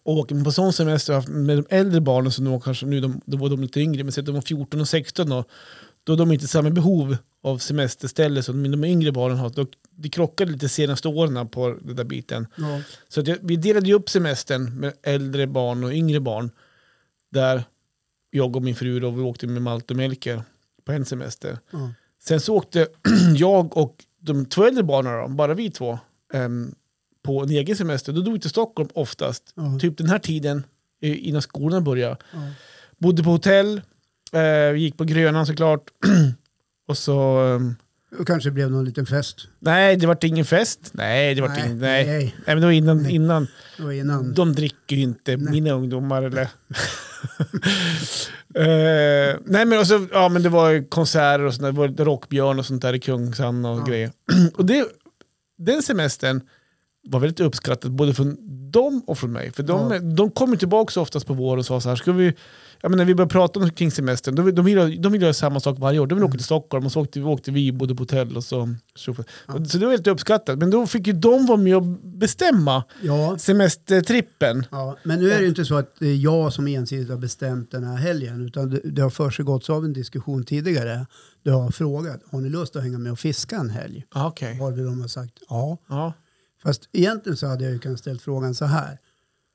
[SPEAKER 1] Och på sån semester har jag haft med de äldre barnen, som då kanske nu de, då var de lite yngre, men säg att de var 14 och 16 då, då har de inte samma behov av semesterställe som de, de yngre barnen har. Då, det krockade lite senaste åren på den där biten.
[SPEAKER 2] ja.
[SPEAKER 1] Så att jag, vi delade ju upp semestern med äldre barn och yngre barn. Där jag och min fru då, vi åkte med Malte och Melker på en semester.
[SPEAKER 2] ja.
[SPEAKER 1] Sen så åkte (clears throat) jag och de två äldre barnen, då, bara vi två, em, på en egen semester. Då drog vi till Stockholm oftast,
[SPEAKER 2] Ja.
[SPEAKER 1] typ den här tiden eh, innan skolan började.
[SPEAKER 2] ja.
[SPEAKER 1] Bodde på hotell, eh, gick på Grönan såklart. (clears throat) och så... em,
[SPEAKER 2] Och kanske blev någon liten fest.
[SPEAKER 1] nej, det vart ingen fest. Nej, det vart
[SPEAKER 2] Nej,
[SPEAKER 1] ingen... Nej. nej,
[SPEAKER 2] nej.
[SPEAKER 1] men det var innan,
[SPEAKER 2] Nej.
[SPEAKER 1] innan.
[SPEAKER 2] Det var innan.
[SPEAKER 1] De dricker ju inte,
[SPEAKER 2] Nej.
[SPEAKER 1] mina ungdomar. Eller? (laughs) Eh, nej, men, och så, ja, men det var ju konserter och sånt där, det var Rockbjörn och sånt där i Kungshamn och
[SPEAKER 2] Ja.
[SPEAKER 1] grejer. (clears throat) och det, den semestern var väldigt uppskattad både från dem och från mig. För de,
[SPEAKER 2] Ja.
[SPEAKER 1] de kom ju tillbaka så oftast på våren och sa så här, ska vi, ja, men när vi började prata om, kring semestern, de, de, vill, ha- de vill göra samma sak varje år. De vill
[SPEAKER 2] Mm.
[SPEAKER 1] åka till Stockholm och så åkte, vi- åkte vi, bodde på hotell och så. Så, så det var helt uppskattat. Men då fick ju de vara med och bestämma
[SPEAKER 2] Ja,
[SPEAKER 1] semestertrippen.
[SPEAKER 2] ja, men nu är det ju inte så att det är jag som ensidigt har bestämt den här helgen. Utan det, det har försiggått av en diskussion tidigare. Där jag har frågat, har ni lust att hänga med och fiska en helg?
[SPEAKER 1] Ja, okej.
[SPEAKER 2] Varvid de har sagt ja.
[SPEAKER 1] Ja.
[SPEAKER 2] Fast egentligen så hade jag ju kunnat ställt frågan så här.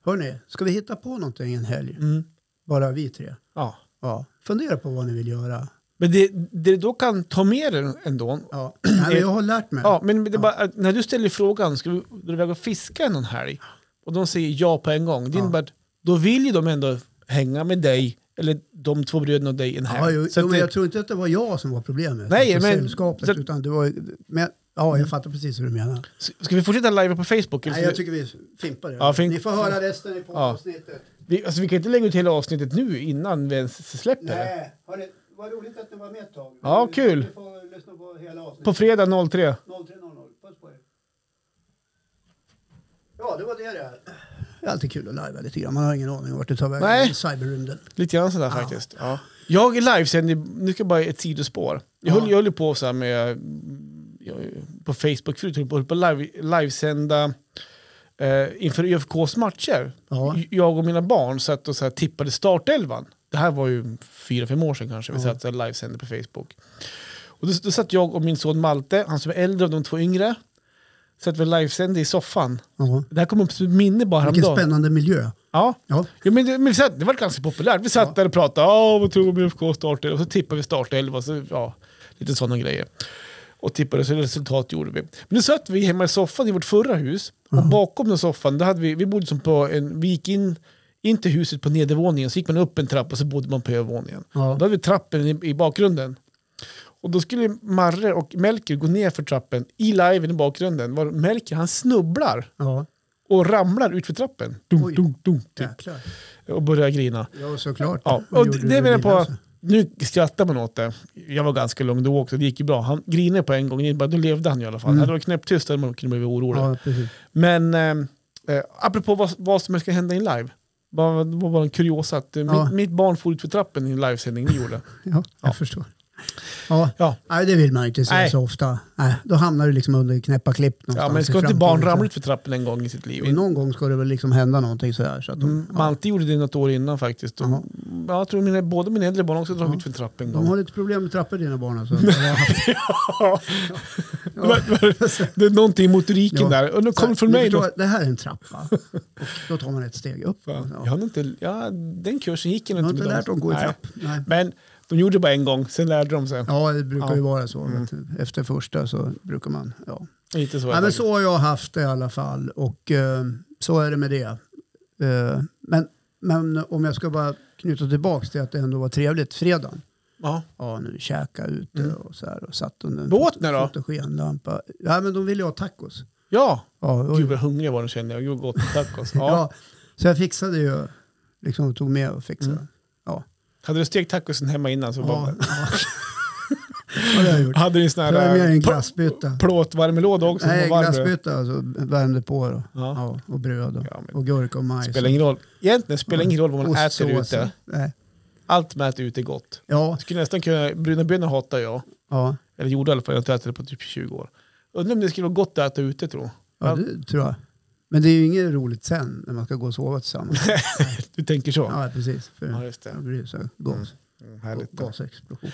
[SPEAKER 2] Hörni, ska vi hitta på någonting en helg?
[SPEAKER 1] Mm.
[SPEAKER 2] Bara vi tre.
[SPEAKER 1] ja.
[SPEAKER 2] Ja, fundera på vad ni vill göra.
[SPEAKER 1] Men det, det då kan ta med dig ändå.
[SPEAKER 2] Ja. (clears throat) Nej, men jag har lärt mig.
[SPEAKER 1] Ja, men det är bara, att när du ställer frågan, ska vi dra iväg och fiska någon helg? Och de säger ja på en gång. Det
[SPEAKER 2] Ja.
[SPEAKER 1] innebär att då vill ju de ändå hänga med dig, eller de två bröderna och dig en helg.
[SPEAKER 2] Ja, jo,
[SPEAKER 1] Så
[SPEAKER 2] jo,
[SPEAKER 1] att
[SPEAKER 2] men
[SPEAKER 1] det-
[SPEAKER 2] jag tror inte att det var jag som var problemet.
[SPEAKER 1] Nej,
[SPEAKER 2] alltså,
[SPEAKER 1] men-
[SPEAKER 2] Sällskapet,
[SPEAKER 1] så- Mm.
[SPEAKER 2] utan det var, men, ja, jag fattar precis hur du menar.
[SPEAKER 1] Ska vi fortsätta live på Facebook? Eller
[SPEAKER 2] Nej,
[SPEAKER 1] ska
[SPEAKER 2] jag
[SPEAKER 1] vi-
[SPEAKER 2] tycker vi fimpar det.
[SPEAKER 1] Ja, fimp-
[SPEAKER 2] Ni får höra resten i poddavsnittet.
[SPEAKER 1] vi, alltså, vi kan inte lägga ut hela avsnittet nu innan vi ens släpper det.
[SPEAKER 2] Nej, hörni, vad roligt att ni var med ett tag.
[SPEAKER 1] Ja,
[SPEAKER 2] Ni-
[SPEAKER 1] kul.
[SPEAKER 2] Ni får lyssna på hela avsnittet.
[SPEAKER 1] På fredag 03.
[SPEAKER 2] 03.00. Puss på er. Ja, det var det det. Det är alltid kul att lajva lite grann. Man har ingen aning vart det tar vägen.
[SPEAKER 1] Nej.
[SPEAKER 2] i Cyberrymden.
[SPEAKER 1] Lite grann sådär faktiskt. Ja. Jag är livesänder, nu ska jag bara ett sidospår. Jag
[SPEAKER 2] Ja.
[SPEAKER 1] höll, jag höll ju på så här med, jag- på Facebook förut, höll på, höll på live, livesända eh, inför ÖFKs matcher.
[SPEAKER 2] Ja.
[SPEAKER 1] Jag och mina barn satt och så här tippade startelvan. Det här var ju fyra, fem år sedan kanske, vi
[SPEAKER 2] Ja.
[SPEAKER 1] satt och livesände på Facebook. Och då, då satt jag och min son Malte, han som är äldre av de två yngre, satt vi och livesände i soffan.
[SPEAKER 2] Ja.
[SPEAKER 1] Det här kom upp som ett minne bara
[SPEAKER 2] Vilken spännande miljö.
[SPEAKER 1] Ja.
[SPEAKER 2] Ja.
[SPEAKER 1] Ja, men det, men vi satt, det var ganska populärt. Vi satt där och pratade, Åh, vad tror du om IFK startelva? Och så tippade vi startelva, och så, ja, lite sådana grejer. Och tippade, så resultat gjorde vi. Men nu satt vi hemma i soffan i vårt förra hus.
[SPEAKER 2] Mm.
[SPEAKER 1] Och bakom den soffan, där hade vi, vi bodde som på en, vi gick in, in till huset på nedervåningen, så gick man upp en trappa och så bodde man på övervåningen.
[SPEAKER 2] Ja.
[SPEAKER 1] Då hade vi trappen i, i bakgrunden. Och då skulle Marre och Melker gå ner för trappen i liven i bakgrunden. Var Melker, han snubblar
[SPEAKER 2] Ja,
[SPEAKER 1] och ramlar ut för trappen. Dunk,
[SPEAKER 2] Oj.
[SPEAKER 1] dunk, dunk, typ
[SPEAKER 2] jäklar.
[SPEAKER 1] och började grina.
[SPEAKER 2] Ja, såklart.
[SPEAKER 1] Ja.
[SPEAKER 2] Vad
[SPEAKER 1] Och
[SPEAKER 2] gjorde
[SPEAKER 1] det,
[SPEAKER 2] du
[SPEAKER 1] det
[SPEAKER 2] med
[SPEAKER 1] menar jag
[SPEAKER 2] din,
[SPEAKER 1] på,
[SPEAKER 2] alltså?
[SPEAKER 1] nu skrattar man åt det. Jag var ganska lugn då också, det gick ju bra. Han grinade på en gång, det innebar att då levde han i alla fall. Hade det varit knäpptyst hade man kunnat bli orolig.
[SPEAKER 2] Mm. Ja, precis.
[SPEAKER 1] Men eh, eh, apropå vad, vad som ska hända i en live. Bara, det var bara en kuriosa att eh,
[SPEAKER 2] Ja.
[SPEAKER 1] mitt, mitt barn for ut för trappen i en livesändning ni gjorde.
[SPEAKER 2] Ja, jag förstår. Ja.
[SPEAKER 1] Ja,
[SPEAKER 2] Nej, det vill man ju inte se
[SPEAKER 1] Nej.
[SPEAKER 2] så ofta. Nej, då hamnar du liksom under knäppa klipp
[SPEAKER 1] ja
[SPEAKER 2] någonstans.
[SPEAKER 1] men
[SPEAKER 2] i
[SPEAKER 1] ska inte barn
[SPEAKER 2] framtiden.
[SPEAKER 1] ramla ut för trappen en gång i sitt liv?
[SPEAKER 2] Jo, någon gång ska det väl liksom hända någonting sådär. Så att de,
[SPEAKER 1] Mm, Malte gjorde det något år innan faktiskt. Och,
[SPEAKER 2] Jaha.
[SPEAKER 1] ja, jag tror mina, både mina äldre barn också drog ut för trappen en
[SPEAKER 2] de
[SPEAKER 1] gång.
[SPEAKER 2] har lite problem med trappor dina
[SPEAKER 1] (laughs)
[SPEAKER 2] barn alltså.
[SPEAKER 1] Det var- det var- Det är någonting i motoriken
[SPEAKER 2] Ja.
[SPEAKER 1] där. Och nu kommer
[SPEAKER 2] Så,
[SPEAKER 1] det från
[SPEAKER 2] ni
[SPEAKER 1] mig då.
[SPEAKER 2] förstår, Det här är
[SPEAKER 1] (laughs)
[SPEAKER 2] en trappa. Och då tar man ett steg upp.
[SPEAKER 1] Ja.
[SPEAKER 2] Ja.
[SPEAKER 1] Jag hade inte, ja, den kursen gick jag
[SPEAKER 2] Jag har
[SPEAKER 1] nog inte
[SPEAKER 2] inte
[SPEAKER 1] med
[SPEAKER 2] lärt dem att gå i
[SPEAKER 1] Nej.
[SPEAKER 2] trapp. Nej.
[SPEAKER 1] Men de gjorde det bara en gång, sen lärde de sig.
[SPEAKER 2] Ja, det brukar
[SPEAKER 1] Ja.
[SPEAKER 2] ju vara så. Vet du. Efter första så brukar man... Ja.
[SPEAKER 1] Lite så.
[SPEAKER 2] Ja, men så har jag haft det i alla fall och eh, så är det med det. Eh, men, men om jag ska bara knyta tillbaka till att det ändå var trevligt fredagen.
[SPEAKER 1] ja.
[SPEAKER 2] Ja, nu käka ute och så här och satt under en
[SPEAKER 1] Mm. Båten då?
[SPEAKER 2] fotogenlampa. Ja, men de ville ju ha tacos.
[SPEAKER 1] ja.
[SPEAKER 2] Ja, och,
[SPEAKER 1] Gud vad hungrig jag var nu kände jag. Gud vad gott tacos. Ja.
[SPEAKER 2] (laughs) ja. så jag fixade ju, liksom tog med och fixade.
[SPEAKER 1] Mm.
[SPEAKER 2] Ja,
[SPEAKER 1] Hade du stekt tacosen hemma innan så (laughs)
[SPEAKER 2] ja,
[SPEAKER 1] bara,
[SPEAKER 2] ja. ja det har jag gjort.
[SPEAKER 1] hade du en sån
[SPEAKER 2] Så jag har
[SPEAKER 1] här
[SPEAKER 2] med
[SPEAKER 1] eh,
[SPEAKER 2] en
[SPEAKER 1] pl-
[SPEAKER 2] glassbytta.
[SPEAKER 1] plåtvarmelåda också? som
[SPEAKER 2] Nej,
[SPEAKER 1] var varm. eh.
[SPEAKER 2] glassbytta alltså, värmde på då.
[SPEAKER 1] Ja.
[SPEAKER 2] Ja, och bröd och,
[SPEAKER 1] Ja, men-
[SPEAKER 2] och gurka och majs.
[SPEAKER 1] Spelar ingen roll. Egentligen spelar ingen roll vad man äter
[SPEAKER 2] Ostsås.
[SPEAKER 1] ute.
[SPEAKER 2] Nej.
[SPEAKER 1] Allt man äter ute är gott.
[SPEAKER 2] Ja,
[SPEAKER 1] Jag skulle nästan kunna, bruna bönor hatar jag.
[SPEAKER 2] ja.
[SPEAKER 1] Eller gjorde i alla fall, jag har inte ätit det på typ 20 år. Undrar om det skulle vara gott att äta ute tror
[SPEAKER 2] ja det tror jag. Men det är ju inget roligt sen när man ska gå och sova tillsammans.
[SPEAKER 1] (laughs) Du tänker så?
[SPEAKER 2] ja, precis. För
[SPEAKER 1] Ja, just
[SPEAKER 2] det
[SPEAKER 1] det. Mm,
[SPEAKER 2] blir ju så här gas,
[SPEAKER 1] Härligt. Ja,
[SPEAKER 2] gasexplosion.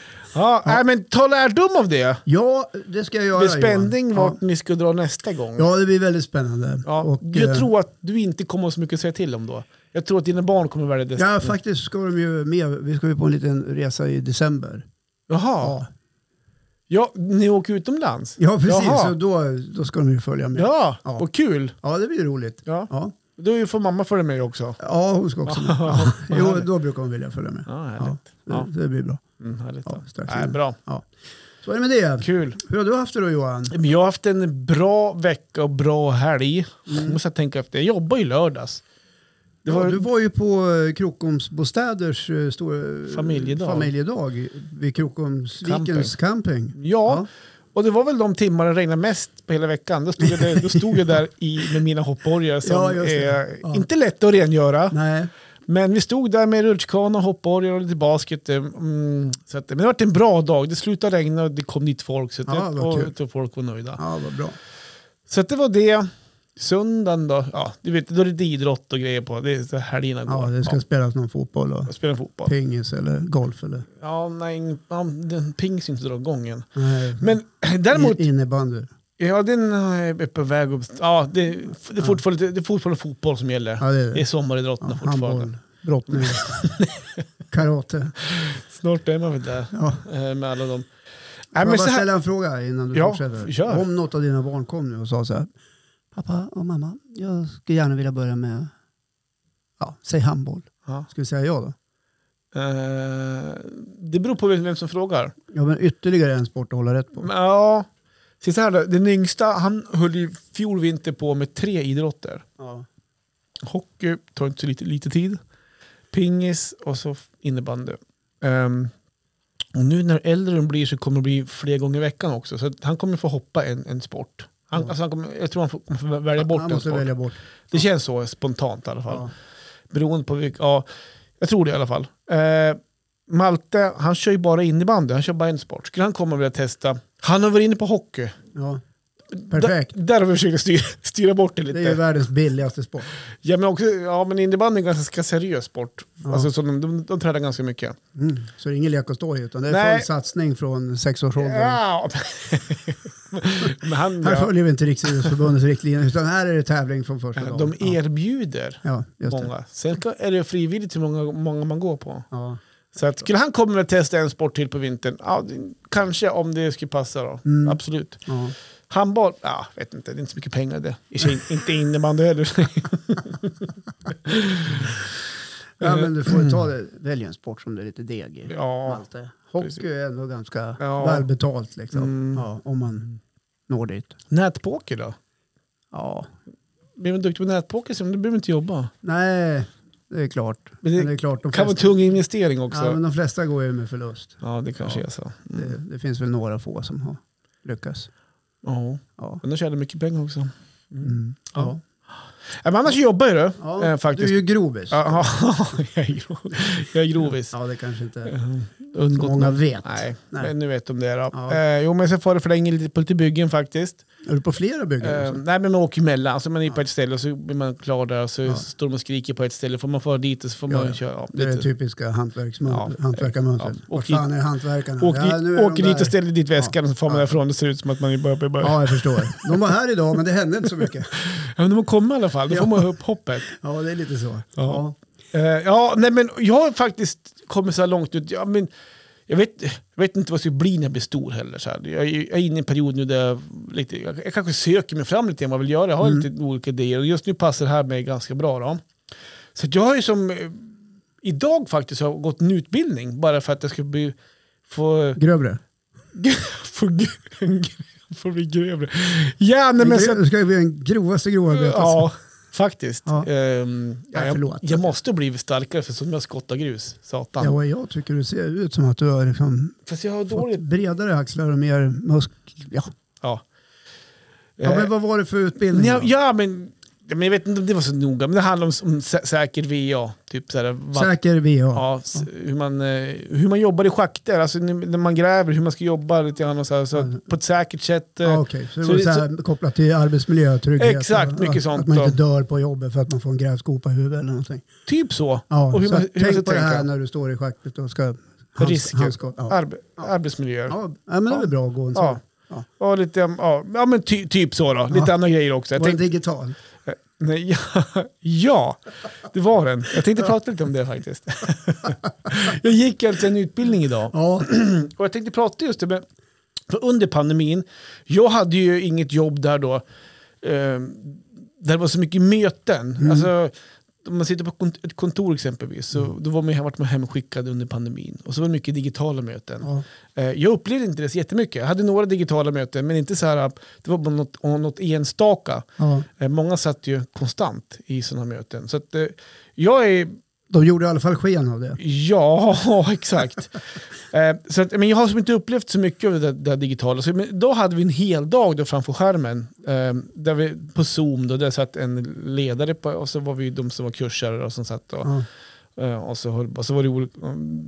[SPEAKER 1] Nej, men ta lärdom av det.
[SPEAKER 2] Ja, det ska jag göra
[SPEAKER 1] Med spänning
[SPEAKER 2] Johan.
[SPEAKER 1] vart ni ska dra nästa gång.
[SPEAKER 2] Ja. ja, det blir väldigt spännande.
[SPEAKER 1] Ja,
[SPEAKER 2] Och,
[SPEAKER 1] jag
[SPEAKER 2] eh,
[SPEAKER 1] tror att du inte kommer ha så mycket att säga till om då. Jag tror att dina barn kommer välja det.
[SPEAKER 2] Ja, faktiskt ska de ju med. Vi ska ju på en liten resa i december.
[SPEAKER 1] Jaha.
[SPEAKER 2] Ja,
[SPEAKER 1] Ja, ni åker utomlands?
[SPEAKER 2] ja precis.
[SPEAKER 1] Jaha.
[SPEAKER 2] Så då, då ska de ju följa med.
[SPEAKER 1] Ja,
[SPEAKER 2] Ja.
[SPEAKER 1] vad kul.
[SPEAKER 2] ja det blir roligt.
[SPEAKER 1] Ja.
[SPEAKER 2] Ja.
[SPEAKER 1] Då får mamma följa med också.
[SPEAKER 2] Ja, hon ska också med. Ja. Jo, då brukar hon vilja följa med.
[SPEAKER 1] (laughs) Ja, härligt.
[SPEAKER 2] Ja, det, det blir bra.
[SPEAKER 1] Mm, härligt.
[SPEAKER 2] Ja, strax
[SPEAKER 1] Nej,
[SPEAKER 2] innan.
[SPEAKER 1] bra.
[SPEAKER 2] Ja. Så är det med det.
[SPEAKER 1] Kul.
[SPEAKER 2] Hur har du haft det då Johan?
[SPEAKER 1] Men Jag har haft en bra vecka och bra helg. Måste jag tänka efter. Jag jobbar ju lördags. Det var,
[SPEAKER 2] Mm. Ja, du var ju på eh, Krokoms bostäders eh, stor, eh,
[SPEAKER 1] Familjedag.
[SPEAKER 2] familjedag vid Krokomsvikens camping.
[SPEAKER 1] ja, och det var väl de timmar det regnade mest på hela veckan. Då stod jag där, då stod jag där i, med mina hoppborgar som
[SPEAKER 2] (laughs) Ja, just det.
[SPEAKER 1] är
[SPEAKER 2] Ja.
[SPEAKER 1] inte lätta att rengöra.
[SPEAKER 2] Nej,
[SPEAKER 1] Men vi stod där med rutschkana, hoppborgar och lite basket. eh, Mm, så att, men det var en bra dag. Det slutade regna och det kom nytt folk. Så att,
[SPEAKER 2] Ja, vad
[SPEAKER 1] och,
[SPEAKER 2] kul.
[SPEAKER 1] jag tror folk var nöjda.
[SPEAKER 2] Ja, vad bra.
[SPEAKER 1] Så att det var det. Söndagen då, ja, du vet, då är det lite idrott och grejer på. Det är så helgerna går.
[SPEAKER 2] Ja, det ska spelas någon fotboll och
[SPEAKER 1] Ja, spela fotboll.
[SPEAKER 2] pingis eller golf eller
[SPEAKER 1] Ja, nej, ja, den pings inte dra igång än.
[SPEAKER 2] nej,
[SPEAKER 1] Men (clears throat) däremot,
[SPEAKER 2] i- innebandy.
[SPEAKER 1] ja den är på väg upp. Ja, det, det, är fortfarande, det är fortfarande fotboll som gäller.
[SPEAKER 2] Ja, det är
[SPEAKER 1] Det är
[SPEAKER 2] det.
[SPEAKER 1] sommaridrotterna
[SPEAKER 2] Ja,
[SPEAKER 1] fortfarande.
[SPEAKER 2] handboll,
[SPEAKER 1] (laughs)
[SPEAKER 2] brottning, karate.
[SPEAKER 1] Snart är man väl där
[SPEAKER 2] Ja.
[SPEAKER 1] eh, med alla dem.
[SPEAKER 2] Får
[SPEAKER 1] Nej,
[SPEAKER 2] jag
[SPEAKER 1] men så
[SPEAKER 2] bara
[SPEAKER 1] här,
[SPEAKER 2] ställa en fråga innan du
[SPEAKER 1] Ja,
[SPEAKER 2] fortsätter?
[SPEAKER 1] kör.
[SPEAKER 2] Om något av dina barn kom nu och sa så här. Pappa och mamma, jag skulle gärna vilja börja med, ja, säg handboll.
[SPEAKER 1] ja.
[SPEAKER 2] Ska vi säga ja då?
[SPEAKER 1] Eh, det beror på vem vem som frågar.
[SPEAKER 2] Ja, men ytterligare en sport att hålla rätt på.
[SPEAKER 1] Men, Ja, se så här då. Den yngsta, han höll ju fjol vinter på med tre idrotter.
[SPEAKER 2] Ja.
[SPEAKER 1] Hockey tar inte så lite, lite tid. Pingis och så innebandy. Ehm, och nu när äldre de blir så kommer det bli fler gånger i veckan också. Så att han kommer få hoppa en, en sport. Han,
[SPEAKER 2] Ja.
[SPEAKER 1] alltså han kommer, jag tror han får, kommer få välja bort
[SPEAKER 2] Han
[SPEAKER 1] en
[SPEAKER 2] måste
[SPEAKER 1] sport.
[SPEAKER 2] välja bort.
[SPEAKER 1] Det känns så spontant i alla fall.
[SPEAKER 2] Ja.
[SPEAKER 1] Beroende på vilka, ja, jag tror det i alla fall. Eh, Malte, han kör ju bara innebandy, han kör bara en sport. Skulle han komma och vilja testa, han har varit inne på hockey.
[SPEAKER 2] Ja. Perfekt.
[SPEAKER 1] Där, där har vi försökt styra, styra bort det
[SPEAKER 2] Det
[SPEAKER 1] lite.
[SPEAKER 2] är ju världens billigaste sport.
[SPEAKER 1] Ja men, också, ja, men innebandy är en ganska seriös sport.
[SPEAKER 2] Ja.
[SPEAKER 1] Alltså, så de, de, de tränar ganska mycket.
[SPEAKER 2] Mm. Så det är ingen lek att stå i, utan det är
[SPEAKER 1] Nej.
[SPEAKER 2] full satsning från sexårsåldern.
[SPEAKER 1] Ja. men han,
[SPEAKER 2] Här
[SPEAKER 1] ja,
[SPEAKER 2] följer vi inte Riksidrottsförbundets riktlinjer, utan här är det tävling från första dagen.
[SPEAKER 1] de erbjuder
[SPEAKER 2] Ja, just det.
[SPEAKER 1] många. Sen ska- är det frivilligt hur många, många man går på.
[SPEAKER 2] Ja.
[SPEAKER 1] Så att, skulle han komma och testa en sport till på vintern? Ja, det- kanske om det skulle passa då.
[SPEAKER 2] Mm.
[SPEAKER 1] Absolut.
[SPEAKER 2] Ja.
[SPEAKER 1] Handboll? Ja, vet inte. Det är inte så mycket pengar det. I och
[SPEAKER 2] (laughs)
[SPEAKER 1] för sig inte innebandy heller.
[SPEAKER 2] ja, men du får ju ta
[SPEAKER 1] Mm.
[SPEAKER 2] det. Välj en sport som det är lite deg i.
[SPEAKER 1] ja.
[SPEAKER 2] Malte. Hockey
[SPEAKER 1] precis.
[SPEAKER 2] är ändå ganska
[SPEAKER 1] Ja.
[SPEAKER 2] välbetalt liksom.
[SPEAKER 1] Mm.
[SPEAKER 2] Ja, om man når dit.
[SPEAKER 1] Nätpoker då?
[SPEAKER 2] Ja.
[SPEAKER 1] Blir man duktig på nätpoker så då behöver man inte jobba.
[SPEAKER 2] Nej, det är klart.
[SPEAKER 1] Men det
[SPEAKER 2] Men det är klart, de
[SPEAKER 1] kan vara en
[SPEAKER 2] flesta,
[SPEAKER 1] tung investering också.
[SPEAKER 2] ja, men de flesta går ju med förlust.
[SPEAKER 1] Ja, det kanske är så.
[SPEAKER 2] Det, det finns väl några få som har lyckats.
[SPEAKER 1] Ja,
[SPEAKER 2] Ja.
[SPEAKER 1] men de tjänar mycket pengar också.
[SPEAKER 2] Mm.
[SPEAKER 1] Ja. Ja, Men annars jobbar ju du.
[SPEAKER 2] Ja,
[SPEAKER 1] eh, faktiskt.
[SPEAKER 2] Du är ju grovis. Ja,
[SPEAKER 1] (laughs) Ja, jag är grov. Jag är grovis.
[SPEAKER 2] det kanske inte
[SPEAKER 1] Eh,
[SPEAKER 2] så
[SPEAKER 1] Undgått
[SPEAKER 2] många
[SPEAKER 1] någon.
[SPEAKER 2] vet.
[SPEAKER 1] Nej,
[SPEAKER 2] Nej.
[SPEAKER 1] men nu vet de det då.
[SPEAKER 2] Ja.
[SPEAKER 1] Eh, jo, men sen får det förlänga lite på lite byggen faktiskt.
[SPEAKER 2] Är du på flera byggen?
[SPEAKER 1] Eh,
[SPEAKER 2] också?
[SPEAKER 1] nej, men man åker emellan. Alltså man är på ett ställe och så blir man klar där och så
[SPEAKER 2] Ja.
[SPEAKER 1] står de och skriker på ett ställe. Får man fara dit och så får
[SPEAKER 2] Ja,
[SPEAKER 1] man
[SPEAKER 2] ja.
[SPEAKER 1] köra. Ja,
[SPEAKER 2] Det är typ- det
[SPEAKER 1] lite.
[SPEAKER 2] typiska hantverksmönstret.
[SPEAKER 1] Ja,
[SPEAKER 2] hantverkarmönstret.
[SPEAKER 1] ja.
[SPEAKER 2] Vart
[SPEAKER 1] Åk
[SPEAKER 2] fan är hantverkarna?
[SPEAKER 1] Åker,
[SPEAKER 2] Ja, nu är
[SPEAKER 1] dit,
[SPEAKER 2] de
[SPEAKER 1] åker dit
[SPEAKER 2] där.
[SPEAKER 1] och ställer dit väskan och så får man
[SPEAKER 2] Ja.
[SPEAKER 1] därifrån. Det ser ut som att man börjar... börjar. Ja.
[SPEAKER 2] Ja, jag förstår. De var här idag, men det hände inte så mycket.
[SPEAKER 1] Men de kommer i alla fall. Då får
[SPEAKER 2] Ja.
[SPEAKER 1] man upp hoppet.
[SPEAKER 2] Ja, det är lite så.
[SPEAKER 1] Ja. Eh, ja, nej men jag har faktiskt kommit så här långt ut. Ja, men jag, vet, jag vet inte vad jag ska bli när jag blir stor heller. Så här. Jag, är- jag är inne i en period nu där jag, lite, jag, jag kanske söker mig fram lite grann vad jag vill göra. Jag har
[SPEAKER 2] Mm.
[SPEAKER 1] lite olika idéer och just nu passar det här mig ganska bra. Då. Så att jag har ju som eh, idag faktiskt har gått en utbildning bara för att jag ska bli, få, (laughs)
[SPEAKER 2] Grövre.
[SPEAKER 1] få, gr- få bli grövre. Ja, nej, men så,
[SPEAKER 2] Du ska ju bli den grovaste grovarbetaren.
[SPEAKER 1] Ja, faktiskt.
[SPEAKER 2] Ja.
[SPEAKER 1] Ehm,
[SPEAKER 2] Ja,
[SPEAKER 1] jag,
[SPEAKER 2] förlåt.
[SPEAKER 1] jag måste bli starkare för som jag skottar grus. Satan.
[SPEAKER 2] Ja, och jag tycker du ser ut som att du har liksom
[SPEAKER 1] Fast jag har
[SPEAKER 2] fått
[SPEAKER 1] dåligt...
[SPEAKER 2] bredare axlar och mer musk... Ja.
[SPEAKER 1] Ja.
[SPEAKER 2] ja,
[SPEAKER 1] Eh,
[SPEAKER 2] men vad var det för utbildning?
[SPEAKER 1] ja,
[SPEAKER 2] då?
[SPEAKER 1] ja, men, ja, men jag vet inte om det var så noga, men det handlar om, om sä säker VA. Typ så här, va-
[SPEAKER 2] Säker VA. Ja.
[SPEAKER 1] ja, s- hur, man, eh, hur man jobbar i schakter, alltså när när man gräver, hur man ska jobba lite grann och så här, så att på ett säkert sätt. eh,
[SPEAKER 2] Okej, så det
[SPEAKER 1] så
[SPEAKER 2] var
[SPEAKER 1] det-
[SPEAKER 2] så här, kopplat till arbetsmiljö, trygghet.
[SPEAKER 1] Exakt,
[SPEAKER 2] och,
[SPEAKER 1] mycket
[SPEAKER 2] att,
[SPEAKER 1] sånt
[SPEAKER 2] Att man inte
[SPEAKER 1] då.
[SPEAKER 2] dör på jobbet för att man får en grävskopa i huvudet eller någonting.
[SPEAKER 1] Typ så.
[SPEAKER 2] Ja,
[SPEAKER 1] och hur
[SPEAKER 2] så
[SPEAKER 1] man,
[SPEAKER 2] att
[SPEAKER 1] hur man ska
[SPEAKER 2] tänk på det här
[SPEAKER 1] tänka.
[SPEAKER 2] när du står i schaktet och ska hands,
[SPEAKER 1] Risker.
[SPEAKER 2] handska- Ja.
[SPEAKER 1] Arbe arbetsmiljöer.
[SPEAKER 2] Ja, men det är väl bra att gå en sån.
[SPEAKER 1] Ja.
[SPEAKER 2] Ja.
[SPEAKER 1] Ja, lite, ja, ja men ty, typ så då. Lite
[SPEAKER 2] Ja.
[SPEAKER 1] andra grejer också. Jag
[SPEAKER 2] Var den
[SPEAKER 1] tänkte,
[SPEAKER 2] digital?
[SPEAKER 1] nej, ja, ja, det var den. Jag tänkte prata lite om det faktiskt. jag gick alltså en utbildning idag
[SPEAKER 2] Ja,
[SPEAKER 1] och jag tänkte prata just det med, för under pandemin, jag hade ju inget jobb där då, eh, där det var så mycket möten. Alltså, om man sitter på kont- ett kontor exempelvis, så då var man, ju- vart man hemskickad under pandemin. Och så var det mycket digitala möten.
[SPEAKER 2] ja.
[SPEAKER 1] Eh, Jag upplevde inte det så jättemycket. Jag hade några digitala möten, men inte så här, att det var bara något, om något enstaka.
[SPEAKER 2] ja.
[SPEAKER 1] Eh, Många satt ju konstant i sådana möten. Så att, eh, jag är,
[SPEAKER 2] De gjorde i alla fall sken av det.
[SPEAKER 1] ja, (laughs) exakt. Eh, så att, men jag har som inte upplevt så mycket av det, där digitala. Så, men då hade vi en hel dag då framför skärmen, eh, där vi, på Zoom, då, där satt en ledare på, och så var vi de som var kursare och som satt. Då.
[SPEAKER 2] Ja.
[SPEAKER 1] Eh, och, så höll, och så var det olika, mm,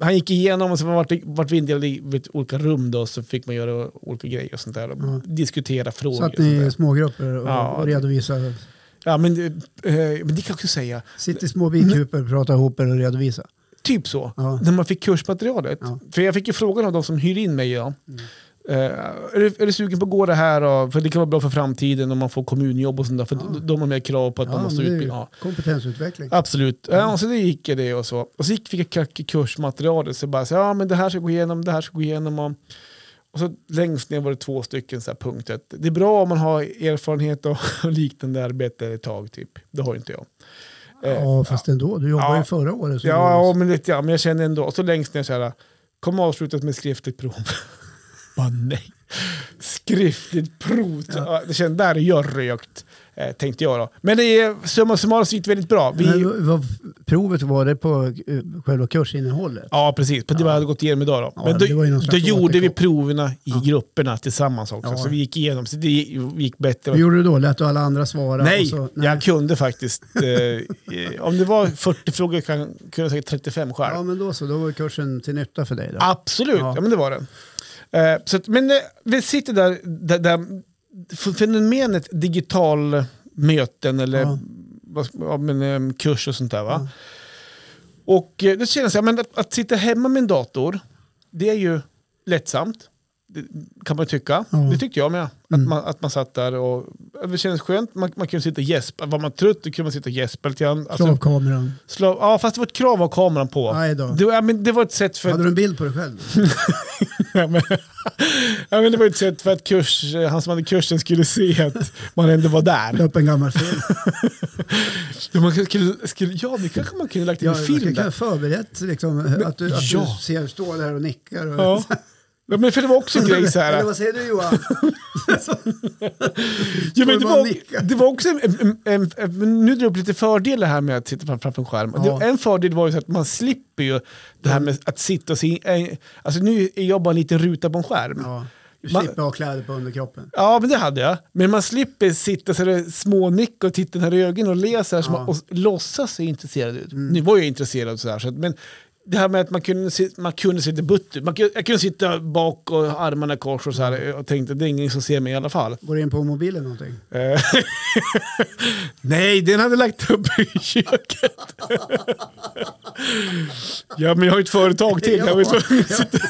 [SPEAKER 1] han gick igenom och så var det, vart vi indelade i vet, olika rum då, så fick man göra olika grejer och sånt där. Och
[SPEAKER 2] Ja.
[SPEAKER 1] Diskutera frågor.
[SPEAKER 2] Mm. Så att
[SPEAKER 1] och
[SPEAKER 2] ni är
[SPEAKER 1] sånt
[SPEAKER 2] i
[SPEAKER 1] där.
[SPEAKER 2] smågrupper och,
[SPEAKER 1] Ja,
[SPEAKER 2] och
[SPEAKER 1] det-
[SPEAKER 2] redovisar.
[SPEAKER 1] Ja, men, eh, men det kan jag också säga.
[SPEAKER 2] Sitt i små bikuper, prata ihop er och redovisa.
[SPEAKER 1] Typ så.
[SPEAKER 2] Ja.
[SPEAKER 1] När man fick kursmaterialet.
[SPEAKER 2] Ja.
[SPEAKER 1] För jag fick ju frågan av de som hyr in mig. Ja. Eh, är, du, är du sugen på att gå det här? Och, för det kan vara bra för framtiden om man får kommunjobb och sånt där. För
[SPEAKER 2] Ja.
[SPEAKER 1] de, de har mer krav på att man
[SPEAKER 2] Ja, men
[SPEAKER 1] måste
[SPEAKER 2] det är ju
[SPEAKER 1] utbilda. Ja.
[SPEAKER 2] kompetensutveckling.
[SPEAKER 1] Absolut. Ja, och så det gick jag det och så. Och så gick, fick jag kack i kursmaterialet. Så jag bara, så, ja men det här ska gå igenom, det här ska gå igenom. Och, och så längst ner var det två stycken så här punkter. Att Det är bra om man har erfarenhet och, (laughs) och liknande arbete ett tag typ. Det har ju inte jag. Eh,
[SPEAKER 2] Ja, fast ändå. Du jobbade
[SPEAKER 1] Ja.
[SPEAKER 2] ju förra året. så-
[SPEAKER 1] Ja, men lite ja, men jag känner ändå. Och så längst ner så här, kommer avslutas med skriftligt prov.
[SPEAKER 2] (laughs)
[SPEAKER 1] Bara nej. Skriftligt prov. Ja. Det kände, där är jag rökt, eh, tänkte jag då. Men det är, summa summarum så gick det väldigt bra. Vi,
[SPEAKER 2] Men vad, provet var det på eh, själva kursinnehållet?
[SPEAKER 1] Ja, precis. På det vi hade gått igenom idag. Då.
[SPEAKER 2] Ja,
[SPEAKER 1] men
[SPEAKER 2] men
[SPEAKER 1] då,
[SPEAKER 2] det var ju någon
[SPEAKER 1] då
[SPEAKER 2] slags
[SPEAKER 1] gjorde vi
[SPEAKER 2] återkopp.
[SPEAKER 1] proverna i grupperna tillsammans också.
[SPEAKER 2] Ja.
[SPEAKER 1] Så vi gick igenom. Så det gick bättre.
[SPEAKER 2] Hur gjorde du då? Lät du alla andra svara?
[SPEAKER 1] nej,
[SPEAKER 2] och så,
[SPEAKER 1] jag kunde faktiskt. Eh, (laughs) eh, om det var 40 frågor kan- kunde jag säkert 35 själv.
[SPEAKER 2] Ja, men då så. Då var kursen till nytta för dig. Då.
[SPEAKER 1] Absolut, ja.
[SPEAKER 2] Ja.
[SPEAKER 1] men det var den. Eh, så att, men eh, vi sitter där, där, där f- fenomenet digital möten eller
[SPEAKER 2] Ja.
[SPEAKER 1] vad ska- ja, men, eh, kurs och sånt där. Va? Och eh, det känns jag, men att, att sitta hemma med en dator, det är ju lättsamt. Det kan man ju tycka.
[SPEAKER 2] Ja.
[SPEAKER 1] Det tyckte jag med. Att, man, att man satt där och det kändes skönt. Man, man kunde sitta och gäspa. Var man trött då kunde man sitta och gäspa lite grann. Alltså,
[SPEAKER 2] Kravkameran.
[SPEAKER 1] slå, ja, fast det var ett krav att ha kameran på.
[SPEAKER 2] Aj då.
[SPEAKER 1] Det, ja, men det var ett sätt för...
[SPEAKER 2] Hade du en bild på dig själv?
[SPEAKER 1] (laughs) Ja, men, ja, men det var ju ett sätt för att kurs, han som hade kursen skulle se att man ändå var
[SPEAKER 2] La
[SPEAKER 1] där.
[SPEAKER 2] upp en gammal
[SPEAKER 1] (laughs)
[SPEAKER 2] film.
[SPEAKER 1] Ja, man skulle, skulle, ja det kanske man kunde lagt in
[SPEAKER 2] Ja,
[SPEAKER 1] en
[SPEAKER 2] man
[SPEAKER 1] film
[SPEAKER 2] kan ha
[SPEAKER 1] där.
[SPEAKER 2] förberett liksom, att, du, att
[SPEAKER 1] ja.
[SPEAKER 2] du ser stå där och nickar. Och,
[SPEAKER 1] Ja. Ja, men för det var också en grej så
[SPEAKER 2] Eller
[SPEAKER 1] här.
[SPEAKER 2] vad säger du Johan?
[SPEAKER 1] Ja, men det,
[SPEAKER 2] står man och
[SPEAKER 1] var,
[SPEAKER 2] nickar.
[SPEAKER 1] det var också en, en, en, en, men nu drar jag upp lite fördelar här med att sitta fram- framför en skärm.
[SPEAKER 2] Ja.
[SPEAKER 1] Det- En fördel var ju så att man slipper ju det här med att sitta och se. eh, Alltså nu är jag bara en liten ruta på en skärm.
[SPEAKER 2] Ja. Du
[SPEAKER 1] Man-
[SPEAKER 2] slipper ha kläder på underkroppen.
[SPEAKER 1] Ja, men det hade jag. Men man slipper sitta så där smånicka och titta ner i ögonen och le så här, så
[SPEAKER 2] Ja.
[SPEAKER 1] man, och låtsas se intresserad ut. Nu var jag intresserad så här, så att, men det här med att man kunde, se- man kunde sitta butt ut. Man kunde, jag kunde sitta bak och ha armarna i kors och så här och tänkte det är ingen som ser mig i alla fall.
[SPEAKER 2] Går in på mobilen någonting?
[SPEAKER 1] Eh, Nej, den hade jag lagt upp i köket. ja, men jag har ju ett företag (laughs) till. Jag var ju tvungen att sitta-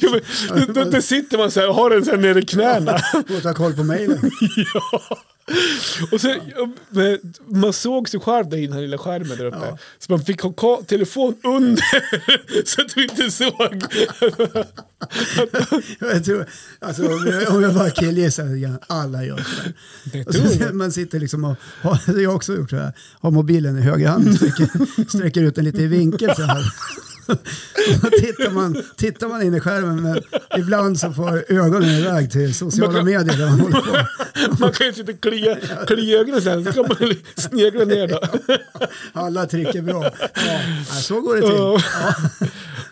[SPEAKER 1] Ja, men då, då, då sitter man så här och har den så här nere i knäna.
[SPEAKER 2] Gå och ta koll på mejlen.
[SPEAKER 1] (laughs) Ja. Och sen, ja, men man såg sig själv där i den här lilla skärmen där uppe.
[SPEAKER 2] Ja.
[SPEAKER 1] Så man fick ha ka- telefon under (laughs) så att du inte såg. (laughs)
[SPEAKER 2] Jag tror, alltså, om, jag, om jag bara killgissar lite grann, alla gör så där.
[SPEAKER 1] Det
[SPEAKER 2] Och
[SPEAKER 1] tror
[SPEAKER 2] så,
[SPEAKER 1] jag.
[SPEAKER 2] man sitter liksom och, har, det har jag också gjort så här, har mobilen i höger hand, sträcker, sträcker ut den lite i vinkel så här. (laughs) Och tittar, man, tittar man in i skärmen men ibland så får ögonen iväg till sociala
[SPEAKER 1] Man kan-
[SPEAKER 2] medier där man håller på.
[SPEAKER 1] Man kan ju sitta och klia, klia ögonen sen, så kan man snegla ner då.
[SPEAKER 2] Alla trick är bra. Ja, så går det till.
[SPEAKER 1] Ja.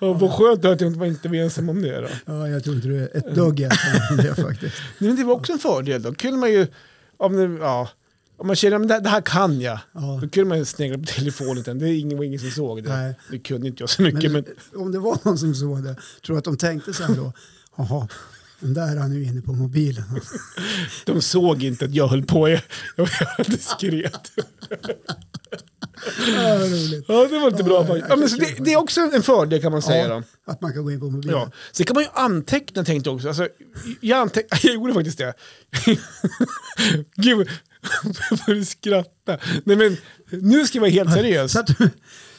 [SPEAKER 1] Och vad skönt att jag inte var inte var ensam om det då.
[SPEAKER 2] Ja, jag tror inte du är ett dugg ensam om (laughs) det faktiskt.
[SPEAKER 1] Nej, Men det var också en fördel då. Kunde man ju, om, det, ja, om man känner att det här kan jag,
[SPEAKER 2] Ja.
[SPEAKER 1] då kunde man ju snegla på telefonen. utan Det är ingen, var ingen som såg det.
[SPEAKER 2] Nej.
[SPEAKER 1] Det kunde inte jag så mycket.
[SPEAKER 2] Men,
[SPEAKER 1] Men,
[SPEAKER 2] om det var någon som såg det, tror du att de tänkte så här då? Jaha, den där är han ju inne på mobilen. (laughs)
[SPEAKER 1] De såg inte att jag höll på. Jag, jag var diskret.
[SPEAKER 2] Ja, vad roligt.
[SPEAKER 1] Ja, det var inte bra faktiskt. Ja, men så det, det är också en fördel kan man säga.
[SPEAKER 2] Ja,
[SPEAKER 1] Då.
[SPEAKER 2] att man kan gå in på mobilen.
[SPEAKER 1] Ja. Sen kan man ju anteckna tänkte jag också. Alltså, jag, anteck (laughs) jag gjorde faktiskt det. Gud, (laughs) jag började skratta. Nej, men, nu ska jag vara helt seriös.
[SPEAKER 2] Satt du,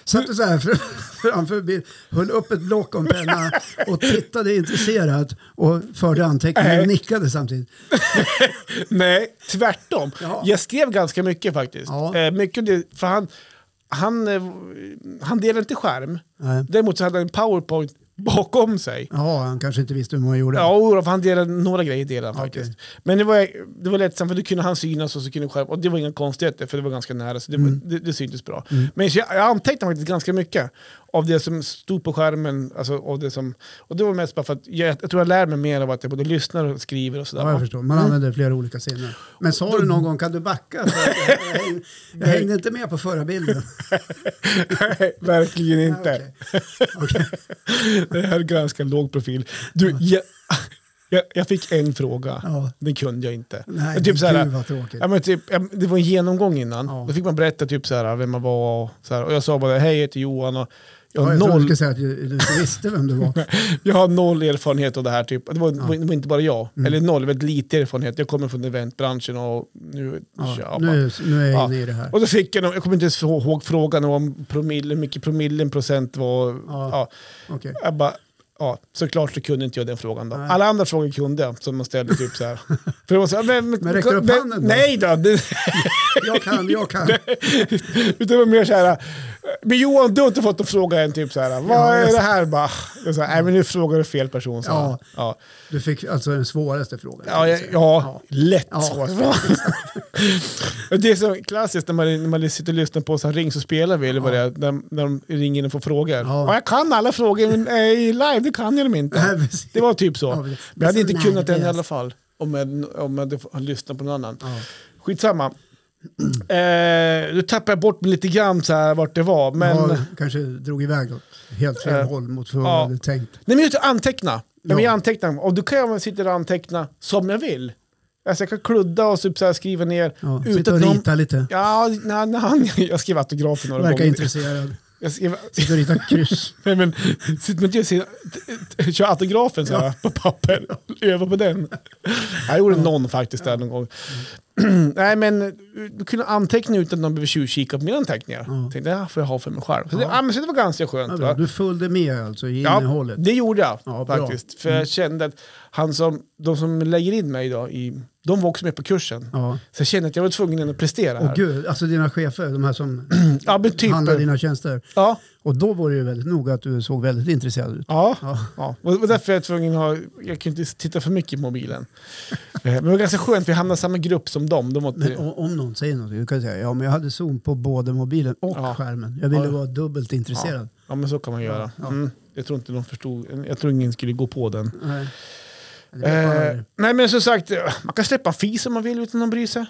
[SPEAKER 2] satt du så här fr- framför bild, höll upp ett block om penna och tittade intresserat och förde anteckningar och
[SPEAKER 1] Nej.
[SPEAKER 2] nickade samtidigt.
[SPEAKER 1] Nej, tvärtom.
[SPEAKER 2] Jaha.
[SPEAKER 1] Jag skrev ganska mycket faktiskt.
[SPEAKER 2] Ja.
[SPEAKER 1] Eh, mycket, om det- för han, han, eh, han delade inte skärm.
[SPEAKER 2] Nej.
[SPEAKER 1] Däremot så hade han en powerpoint bakom sig.
[SPEAKER 2] Ja, han kanske inte visste hur man gjorde.
[SPEAKER 1] Ja, oroa, för han delade några grejer delade han
[SPEAKER 2] Okej.
[SPEAKER 1] faktiskt. Men det var, det var lättsamt för då kunde han synas och så kunde själv, och det var inga konstigheter för det var ganska nära så det, var, det, det syntes bra. Men så jag, jag antecknade faktiskt ganska mycket av det som stod på skärmen. Alltså, av det som, och det var mest bara för att jag, jag tror jag lär mig mer av att jag både lyssnar och skriver och sådär.
[SPEAKER 2] Ja,
[SPEAKER 1] (laughs)
[SPEAKER 2] jag förstår. Man
[SPEAKER 1] Mm.
[SPEAKER 2] använder flera olika sinnen. Men sa du någon gång, kan du backa? För att jag, jag, häng, jag hängde inte med på förra bilden.
[SPEAKER 1] Nej, verkligen inte.
[SPEAKER 2] Ah, Okej.
[SPEAKER 1] Det här är ganska låg profil. Du, jag, jag, jag fick en fråga.
[SPEAKER 2] Ja.
[SPEAKER 1] Den kunde jag inte.
[SPEAKER 2] Nej,
[SPEAKER 1] Men typ
[SPEAKER 2] men
[SPEAKER 1] så här,
[SPEAKER 2] gud vad tråkigt.
[SPEAKER 1] Ja, men typ, ja, men det var en genomgång innan.
[SPEAKER 2] Ja.
[SPEAKER 1] Då fick man berätta typ så här, vem man var och, så här, och jag sa bara hej, jag heter Johan och jag
[SPEAKER 2] Ja,
[SPEAKER 1] har,
[SPEAKER 2] jag trodde du
[SPEAKER 1] noll,
[SPEAKER 2] skulle säga att du, du inte visste vem
[SPEAKER 1] (laughs)
[SPEAKER 2] du var.
[SPEAKER 1] jag har noll erfarenhet av det här. Typ. Det, var, det var inte bara jag,
[SPEAKER 2] Mm.
[SPEAKER 1] eller noll, väldigt lite erfarenhet. Jag kommer från eventbranschen och nu...
[SPEAKER 2] Ja,
[SPEAKER 1] ja,
[SPEAKER 2] nu, nu är jag
[SPEAKER 1] Ja.
[SPEAKER 2] inne i det här.
[SPEAKER 1] och då fick jag, någon- jag kommer inte ens ihåg frågan om promille, hur mycket promillen procent var.
[SPEAKER 2] Ja.
[SPEAKER 1] Ja.
[SPEAKER 2] Okej.
[SPEAKER 1] Jag bara, ja, såklart så kunde inte jag den frågan då.
[SPEAKER 2] Nej.
[SPEAKER 1] Alla andra frågor kunde jag, som man ställde typ så här. För det var så, här, men,
[SPEAKER 2] Men räcker du upp handen då?
[SPEAKER 1] Nej då! Det,
[SPEAKER 2] Jag kan,
[SPEAKER 1] (laughs)
[SPEAKER 2] jag kan.
[SPEAKER 1] utan det var mer så här, men Johan, du har inte fått en fråga än, typ så här, vad
[SPEAKER 2] Ja,
[SPEAKER 1] är
[SPEAKER 2] just-
[SPEAKER 1] det här? Bara, det är så här, nej men nu frågar du fel person. Så här.
[SPEAKER 2] Ja.
[SPEAKER 1] Ja.
[SPEAKER 2] Du fick alltså den svåraste frågan.
[SPEAKER 1] Ja, ja, ja, lätt
[SPEAKER 2] Ja.
[SPEAKER 1] svårt. Och (laughs) det är så klassiskt när man, när man sitter och lyssnar på så här, Ring så spelar vi, eller vad det är, när, när de ringer in och får frågor.
[SPEAKER 2] Ja.
[SPEAKER 1] Ja, jag kan alla frågor, men eh, i live det kan jag dem inte.
[SPEAKER 2] Nej, (laughs) precis.
[SPEAKER 1] Det var typ så.
[SPEAKER 2] Ja,
[SPEAKER 1] men
[SPEAKER 2] precis.
[SPEAKER 1] jag hade inte
[SPEAKER 2] Nej,
[SPEAKER 1] kunnat den i
[SPEAKER 2] precis.
[SPEAKER 1] alla fall. Om jag, om jag hade f- lyssnat på någon annan.
[SPEAKER 2] Ja.
[SPEAKER 1] Skitsamma. (clears throat) Eh, nu tappar jag bort mig lite grann så här, vart det var. Men,
[SPEAKER 2] Men... Jag kanske drog iväg åt helt fel
[SPEAKER 1] Eh,
[SPEAKER 2] håll mot vad
[SPEAKER 1] ja.
[SPEAKER 2] jag hade tänkt.
[SPEAKER 1] Nej, men just att anteckna. Ja.
[SPEAKER 2] Ja.
[SPEAKER 1] Men jag antecknar. Och då kan jag sitta och anteckna som jag vill. Alltså jag kan kludda och typ så här skriva ner.
[SPEAKER 2] Ja,
[SPEAKER 1] utan
[SPEAKER 2] sitta och
[SPEAKER 1] någon-
[SPEAKER 2] rita lite.
[SPEAKER 1] Ja, nej, nej, (laughs) jag skrev autografer några
[SPEAKER 2] Verkar
[SPEAKER 1] gånger.
[SPEAKER 2] intresserad.
[SPEAKER 1] Jag skrev,
[SPEAKER 2] Sitta och
[SPEAKER 1] (laughs)
[SPEAKER 2] rita kryss.
[SPEAKER 1] nej, men, sitter man inte och ser- t- t- kör autografen så här, på papper, öva på den. Jag gjorde någon faktiskt där någon gång. (clears throat) nej, men du kunde anteckna utan att någon behöver tjuvkika på mina anteckningar.
[SPEAKER 2] Ja.
[SPEAKER 1] Tänkte, det här får jag ha för mig själv. Så, det,
[SPEAKER 2] Ja.
[SPEAKER 1] ja, men, så det var ganska skönt.
[SPEAKER 2] Ja,
[SPEAKER 1] va?
[SPEAKER 2] bra. Du följde med alltså i innehållet.
[SPEAKER 1] det gjorde jag
[SPEAKER 2] Ja, bra. Mm.
[SPEAKER 1] faktiskt. För jag kände att han som, de som lägger in mig idag, i, de var också med på kursen.
[SPEAKER 2] Ja.
[SPEAKER 1] Så jag kände att jag var tvungen att prestera
[SPEAKER 2] Och
[SPEAKER 1] här.
[SPEAKER 2] gud, alltså dina chefer, de här som
[SPEAKER 1] ja, men typ,
[SPEAKER 2] handlar dina tjänster.
[SPEAKER 1] ja,
[SPEAKER 2] Och då var det ju väldigt noga att du såg väldigt intresserad ut.
[SPEAKER 1] ja, ja.
[SPEAKER 2] Ja.
[SPEAKER 1] Och det var därför jag var tvungen att ha, jag kunde inte titta för mycket i mobilen. Eh, men det var ganska skönt, vi hamnade i samma grupp som dem. De var
[SPEAKER 2] Men
[SPEAKER 1] inte,
[SPEAKER 2] o- om någon säger något, du kan säga ja men jag hade zoom på både mobilen och
[SPEAKER 1] Ja.
[SPEAKER 2] skärmen. Jag ville
[SPEAKER 1] Ja.
[SPEAKER 2] vara dubbelt intresserad.
[SPEAKER 1] ja, men så kan man göra.
[SPEAKER 2] Ja.
[SPEAKER 1] Mm. Jag tror inte de förstod, jag tror ingen skulle gå på den.
[SPEAKER 2] Nej. Det vet man
[SPEAKER 1] Eh,
[SPEAKER 2] aldrig.
[SPEAKER 1] nej men som sagt, eh, man kan släppa en fis om man vill utan att bry sig.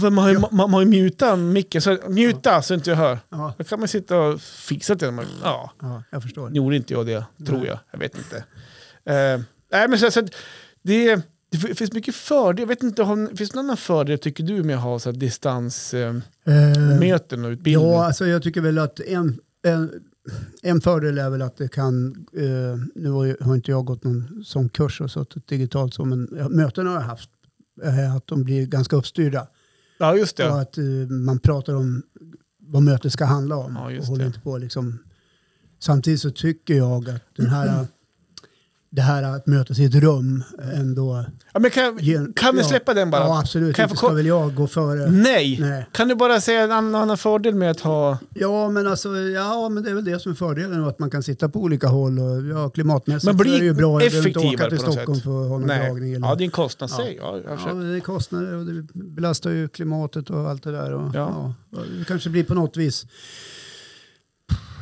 [SPEAKER 1] För man har ju, man, man har ju mutat micken, så muta så inte jag hör.
[SPEAKER 2] Ja,
[SPEAKER 1] Då kan man sitta och fixa till dem. Ja,
[SPEAKER 2] ja, jag förstår.
[SPEAKER 1] nu gjorde inte jag det, tror jag. Jag vet inte. Eh, nej, men så, så att det, det fi- finns mycket fördel. Jag vet inte, har, finns det någon annan fördel tycker du med att ha så här distansmöten
[SPEAKER 2] Eh,
[SPEAKER 1] och utbildning?
[SPEAKER 2] ja, alltså jag tycker väl att en, en, en fördel är väl att det kan, eh, nu har ju- har inte jag gått någon sån kurs och suttit digitalt så, men ja, möten har jag haft, eh, att de blir ganska uppstyrda.
[SPEAKER 1] ja just det.
[SPEAKER 2] Och
[SPEAKER 1] Ja,
[SPEAKER 2] att eh, man pratar om vad mötet ska handla om.
[SPEAKER 1] Ja,
[SPEAKER 2] och
[SPEAKER 1] just
[SPEAKER 2] håller
[SPEAKER 1] det.
[SPEAKER 2] inte på liksom. Samtidigt så tycker jag att den här, det här att mötas i ett rum ändå...
[SPEAKER 1] men kan,
[SPEAKER 2] ger-
[SPEAKER 1] kan vi
[SPEAKER 2] ja,
[SPEAKER 1] släppa den bara?
[SPEAKER 2] Ja, absolut.
[SPEAKER 1] Kan jag få
[SPEAKER 2] inte ska
[SPEAKER 1] ko- Mm.
[SPEAKER 2] väl jag gå före.
[SPEAKER 1] Nej.
[SPEAKER 2] Nej.
[SPEAKER 1] Kan du bara säga en annan, annan fördel med att ha...
[SPEAKER 2] Ja, men alltså, ja, men det är väl det som är fördelen. Att man kan sitta på olika håll. Och, ja, klimatmässigt
[SPEAKER 1] Men
[SPEAKER 2] så
[SPEAKER 1] bli
[SPEAKER 2] är det ju bra. Jag behöver inte
[SPEAKER 1] effektivare
[SPEAKER 2] åka till
[SPEAKER 1] på något
[SPEAKER 2] Stockholm
[SPEAKER 1] sätt.
[SPEAKER 2] för att ha någon dragning. Eller,
[SPEAKER 1] Ja, det är en kostnad. Säg. Ja. jag
[SPEAKER 2] ja,
[SPEAKER 1] försöker.
[SPEAKER 2] det är kostnader och det belastar ju klimatet och allt det där. Och,
[SPEAKER 1] Ja.
[SPEAKER 2] ja. och det kanske blir på något vis,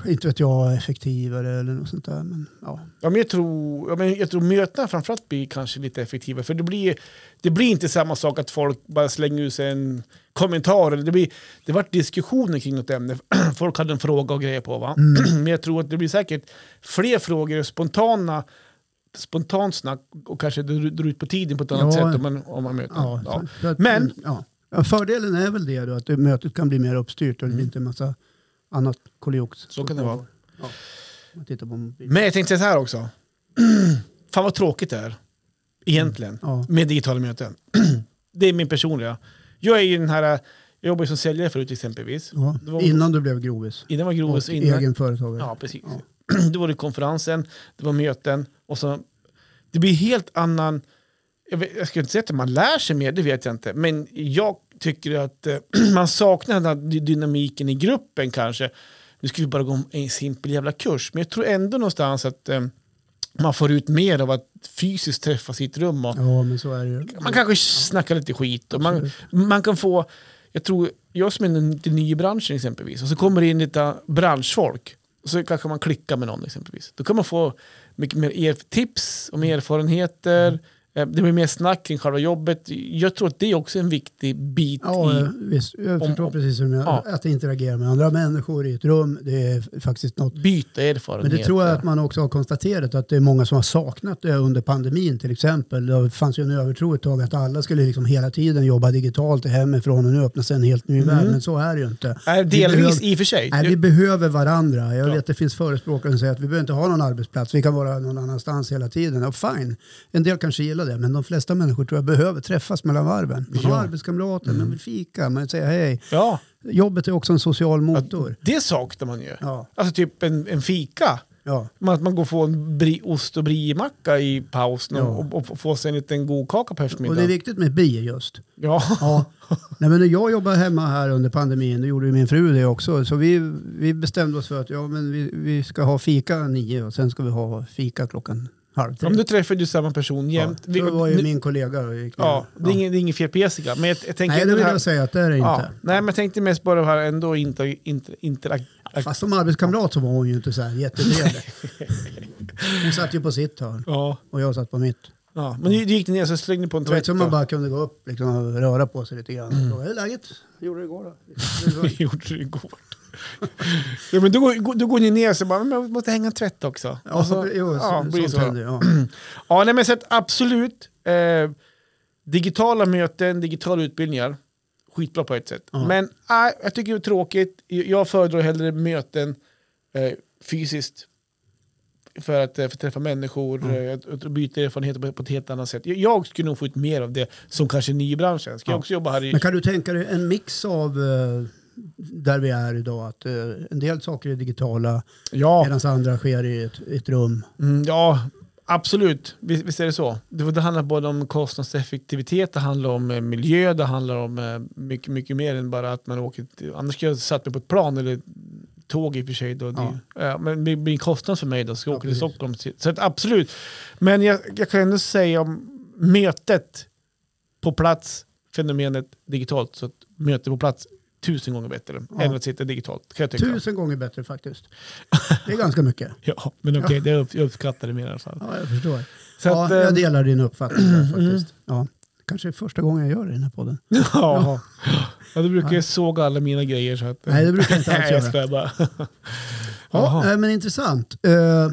[SPEAKER 2] inte vet jag, effektivare eller något sånt där. Men, ja.
[SPEAKER 1] Ja, men jag, tror, ja, men jag tror mötena framförallt blir kanske lite effektivare. För det blir, det blir inte samma sak att folk bara slänger ut sig en kommentar. Eller det, blir, det vart diskussioner kring något ämne. (clears throat) Folk hade en fråga och grejer på. Va? (clears throat) men jag tror att det blir säkert fler frågor och spontana spontant snack och kanske det drar drar ut på tiden på ett annat
[SPEAKER 2] Ja.
[SPEAKER 1] sätt om man, om man möter.
[SPEAKER 2] Ja,
[SPEAKER 1] Ja,
[SPEAKER 2] så- så att-
[SPEAKER 1] Men-
[SPEAKER 2] Ja. Ja, Fördelen är väl det då, att det- mötet kan bli mer uppstyrt och det blir inte en massa annat kolliox.
[SPEAKER 1] Mm. Så kan det vara.
[SPEAKER 2] Ja. Man tittar på mobilen.
[SPEAKER 1] Men jag tänkte så här också. (clears throat) Fan vad tråkigt det är. Egentligen.
[SPEAKER 2] Ja.
[SPEAKER 1] Med digitala möten. (clears throat) det är min personliga. Jag är ju den här, jag jobbar ju som säljare förut exempelvis.
[SPEAKER 2] Ja.
[SPEAKER 1] Det var-
[SPEAKER 2] Innan du blev grovis.
[SPEAKER 1] Innan var grovis
[SPEAKER 2] Och
[SPEAKER 1] och innan...
[SPEAKER 2] egen företagare.
[SPEAKER 1] Ja, precis. (clears throat) Då var det konferensen, det var möten och så... Det blir helt annan... Jag, vet, jag skulle inte säga att man lär sig mer, det vet jag inte. Men (clears throat) jag tycker att eh, man saknar den här dy- dynamiken i gruppen kanske. nu ska vi bara gå en simpel jävla kurs. Men jag tror ändå någonstans att eh, man får ut mer av att fysiskt träffa sitt rum. Och
[SPEAKER 2] Ja, men så är det ju.
[SPEAKER 1] man kanske snackar lite skit. Och man, man kan få, jag tror, jag som är lite ny i branschen exempelvis, och så kommer det in lite branschfolk. Och så kanske man klickar med någon exempelvis. Då kan man få mycket mer er- tips om erfarenheter.
[SPEAKER 2] Mm.
[SPEAKER 1] Eh, Det blir mer snack kring själva jobbet. Jag tror att det är också en viktig bit
[SPEAKER 2] Ja,
[SPEAKER 1] i
[SPEAKER 2] eh, visst. Jag
[SPEAKER 1] Om-
[SPEAKER 2] förstår
[SPEAKER 1] om-
[SPEAKER 2] precis hur du menar.
[SPEAKER 1] Ja.
[SPEAKER 2] Att interagera med andra människor i ett rum, det är faktiskt något.
[SPEAKER 1] byta
[SPEAKER 2] Men
[SPEAKER 1] erfarenheter.
[SPEAKER 2] det tror jag att man också har konstaterat att det är många som har saknat det under pandemin till exempel. Det fanns ju en övertro ett tag att alla skulle liksom hela tiden jobba digitalt hemifrån och nu öppnas en helt ny värld. Men så är det ju inte.
[SPEAKER 1] Mm. Nej,
[SPEAKER 2] Vi
[SPEAKER 1] delvis
[SPEAKER 2] behöver-
[SPEAKER 1] i och för sig.
[SPEAKER 2] Nej, vi behöver varandra. Jag
[SPEAKER 1] Ja.
[SPEAKER 2] vet att det finns förespråkare som säger att vi behöver inte ha någon arbetsplats. Vi kan vara någon annanstans hela tiden. Och fine, en del kanske gillar det. Men de flesta människor tror jag behöver träffas mellan varven. Man har
[SPEAKER 1] Ja. Mm.
[SPEAKER 2] arbetskamrater, man vill fika, man vill säga hej.
[SPEAKER 1] Ja,
[SPEAKER 2] Jobbet är också en social motor.
[SPEAKER 1] det saknar man ju.
[SPEAKER 2] Ja,
[SPEAKER 1] Alltså typ en, en fika.
[SPEAKER 2] ja.
[SPEAKER 1] Men Att man går och får en bri, ost och briemacka i pausen
[SPEAKER 2] Ja.
[SPEAKER 1] och, och, och får sig en liten god kaka på
[SPEAKER 2] Och det är
[SPEAKER 1] eftermiddagen.
[SPEAKER 2] viktigt med bi just.
[SPEAKER 1] Ja.
[SPEAKER 2] Ja. Nej, men när jag jobbade hemma här under pandemin, då gjorde ju min fru det också. Så vi, vi bestämde oss för att ja, men vi, vi ska ha fika nio och sen ska vi ha fika klockan halv tre.
[SPEAKER 1] Om du träffar du samma person jämt.
[SPEAKER 2] Ja,
[SPEAKER 1] Vi-
[SPEAKER 2] det var ju
[SPEAKER 1] nu-
[SPEAKER 2] min kollega. och gick ner.
[SPEAKER 1] ja, det, är inget, det är inget fel på Jessica. Men jag, jag tänker
[SPEAKER 2] Nej, det
[SPEAKER 1] ändå
[SPEAKER 2] vill
[SPEAKER 1] här-
[SPEAKER 2] jag säga att det är det
[SPEAKER 1] ja,
[SPEAKER 2] inte.
[SPEAKER 1] Nej, men jag tänkte mest bara det här ändå inte, inte, inte,
[SPEAKER 2] Fast som arbetskamrat så var hon ju inte så här
[SPEAKER 1] (laughs)
[SPEAKER 2] jättetrevlig. Hon satt ju på sitt hörn
[SPEAKER 1] ja,
[SPEAKER 2] och jag satt på mitt.
[SPEAKER 1] ja. Men nu gick ni ner så slängde ni på en
[SPEAKER 2] Det var inte
[SPEAKER 1] tvätt.
[SPEAKER 2] som man
[SPEAKER 1] då.
[SPEAKER 2] bara kunde gå upp liksom, och röra på sig lite grann. Mm. Hur är läget? Gjorde
[SPEAKER 1] (laughs)
[SPEAKER 2] det igår då?
[SPEAKER 1] Vi (laughs) gjorde det igår. ja, men då, går, då går ni ner och så bara, men jag måste hänga en tvätt också. Alltså,
[SPEAKER 2] Ja,
[SPEAKER 1] Och så-
[SPEAKER 2] jo,
[SPEAKER 1] ja,
[SPEAKER 2] så,
[SPEAKER 1] blir det
[SPEAKER 2] sånt
[SPEAKER 1] så.
[SPEAKER 2] händer ju, ja.
[SPEAKER 1] Ja, nej, men så att absolut. Eh, digitala möten, digitala utbildningar. Skitbra på ett sätt.
[SPEAKER 2] Ja.
[SPEAKER 1] Men nej, jag tycker det är tråkigt. Jag föredrar hellre möten eh, fysiskt. För att eh, få träffa människor, eh, att, att byta erfarenheter på, på ett helt annat sätt. Jag, jag skulle nog få ut mer av det som kanske är ny i branschen. Ska
[SPEAKER 2] Ja.
[SPEAKER 1] jag också jobba här i...
[SPEAKER 2] Men kan du tänka dig en mix av eh, där vi är idag? Att eh, en del saker är digitala
[SPEAKER 1] Ja.
[SPEAKER 2] medan andra sker i ett, i ett rum.
[SPEAKER 1] Mm, ja, absolut. Visst, visst är det så. Det, det handlar både om kostnadseffektivitet, det handlar om eh, miljö, det handlar om eh, mycket, mycket mer än bara att man åker. Till, annars skulle jag satt mig på ett plan eller tåg i och för sig. Då, det, ja, men det blir en kostnad för mig då, så jag
[SPEAKER 2] Ja,
[SPEAKER 1] åker till
[SPEAKER 2] precis.
[SPEAKER 1] Stockholm. Så att, absolut. Men jag, jag kan ändå säga om mötet på plats, fenomenet digitalt, så att möte på plats tusen gånger bättre
[SPEAKER 2] Ja.
[SPEAKER 1] än att sitta digitalt. Kan jag tycka.
[SPEAKER 2] Tusen gånger bättre faktiskt. Det är
[SPEAKER 1] (laughs)
[SPEAKER 2] ganska mycket.
[SPEAKER 1] Ja, men okej, det upp, jag uppskattar det mer i alla fall.
[SPEAKER 2] Ja, jag förstår.
[SPEAKER 1] Så
[SPEAKER 2] ja,
[SPEAKER 1] att, eh, (laughs) Mm.
[SPEAKER 2] jag delar din
[SPEAKER 1] (clears throat)
[SPEAKER 2] uppfattning där, faktiskt. Ja. Kanske är första gången jag gör det i den här podden.
[SPEAKER 1] Ja. ja, du brukar ju såga alla mina grejer. Så att, eh,
[SPEAKER 2] Nej, det brukar jag inte alls
[SPEAKER 1] (laughs) Nej, jag
[SPEAKER 2] göra.
[SPEAKER 1] skojar bara.
[SPEAKER 2] Ja,
[SPEAKER 1] Jaha.
[SPEAKER 2] nej, men intressant. Eh,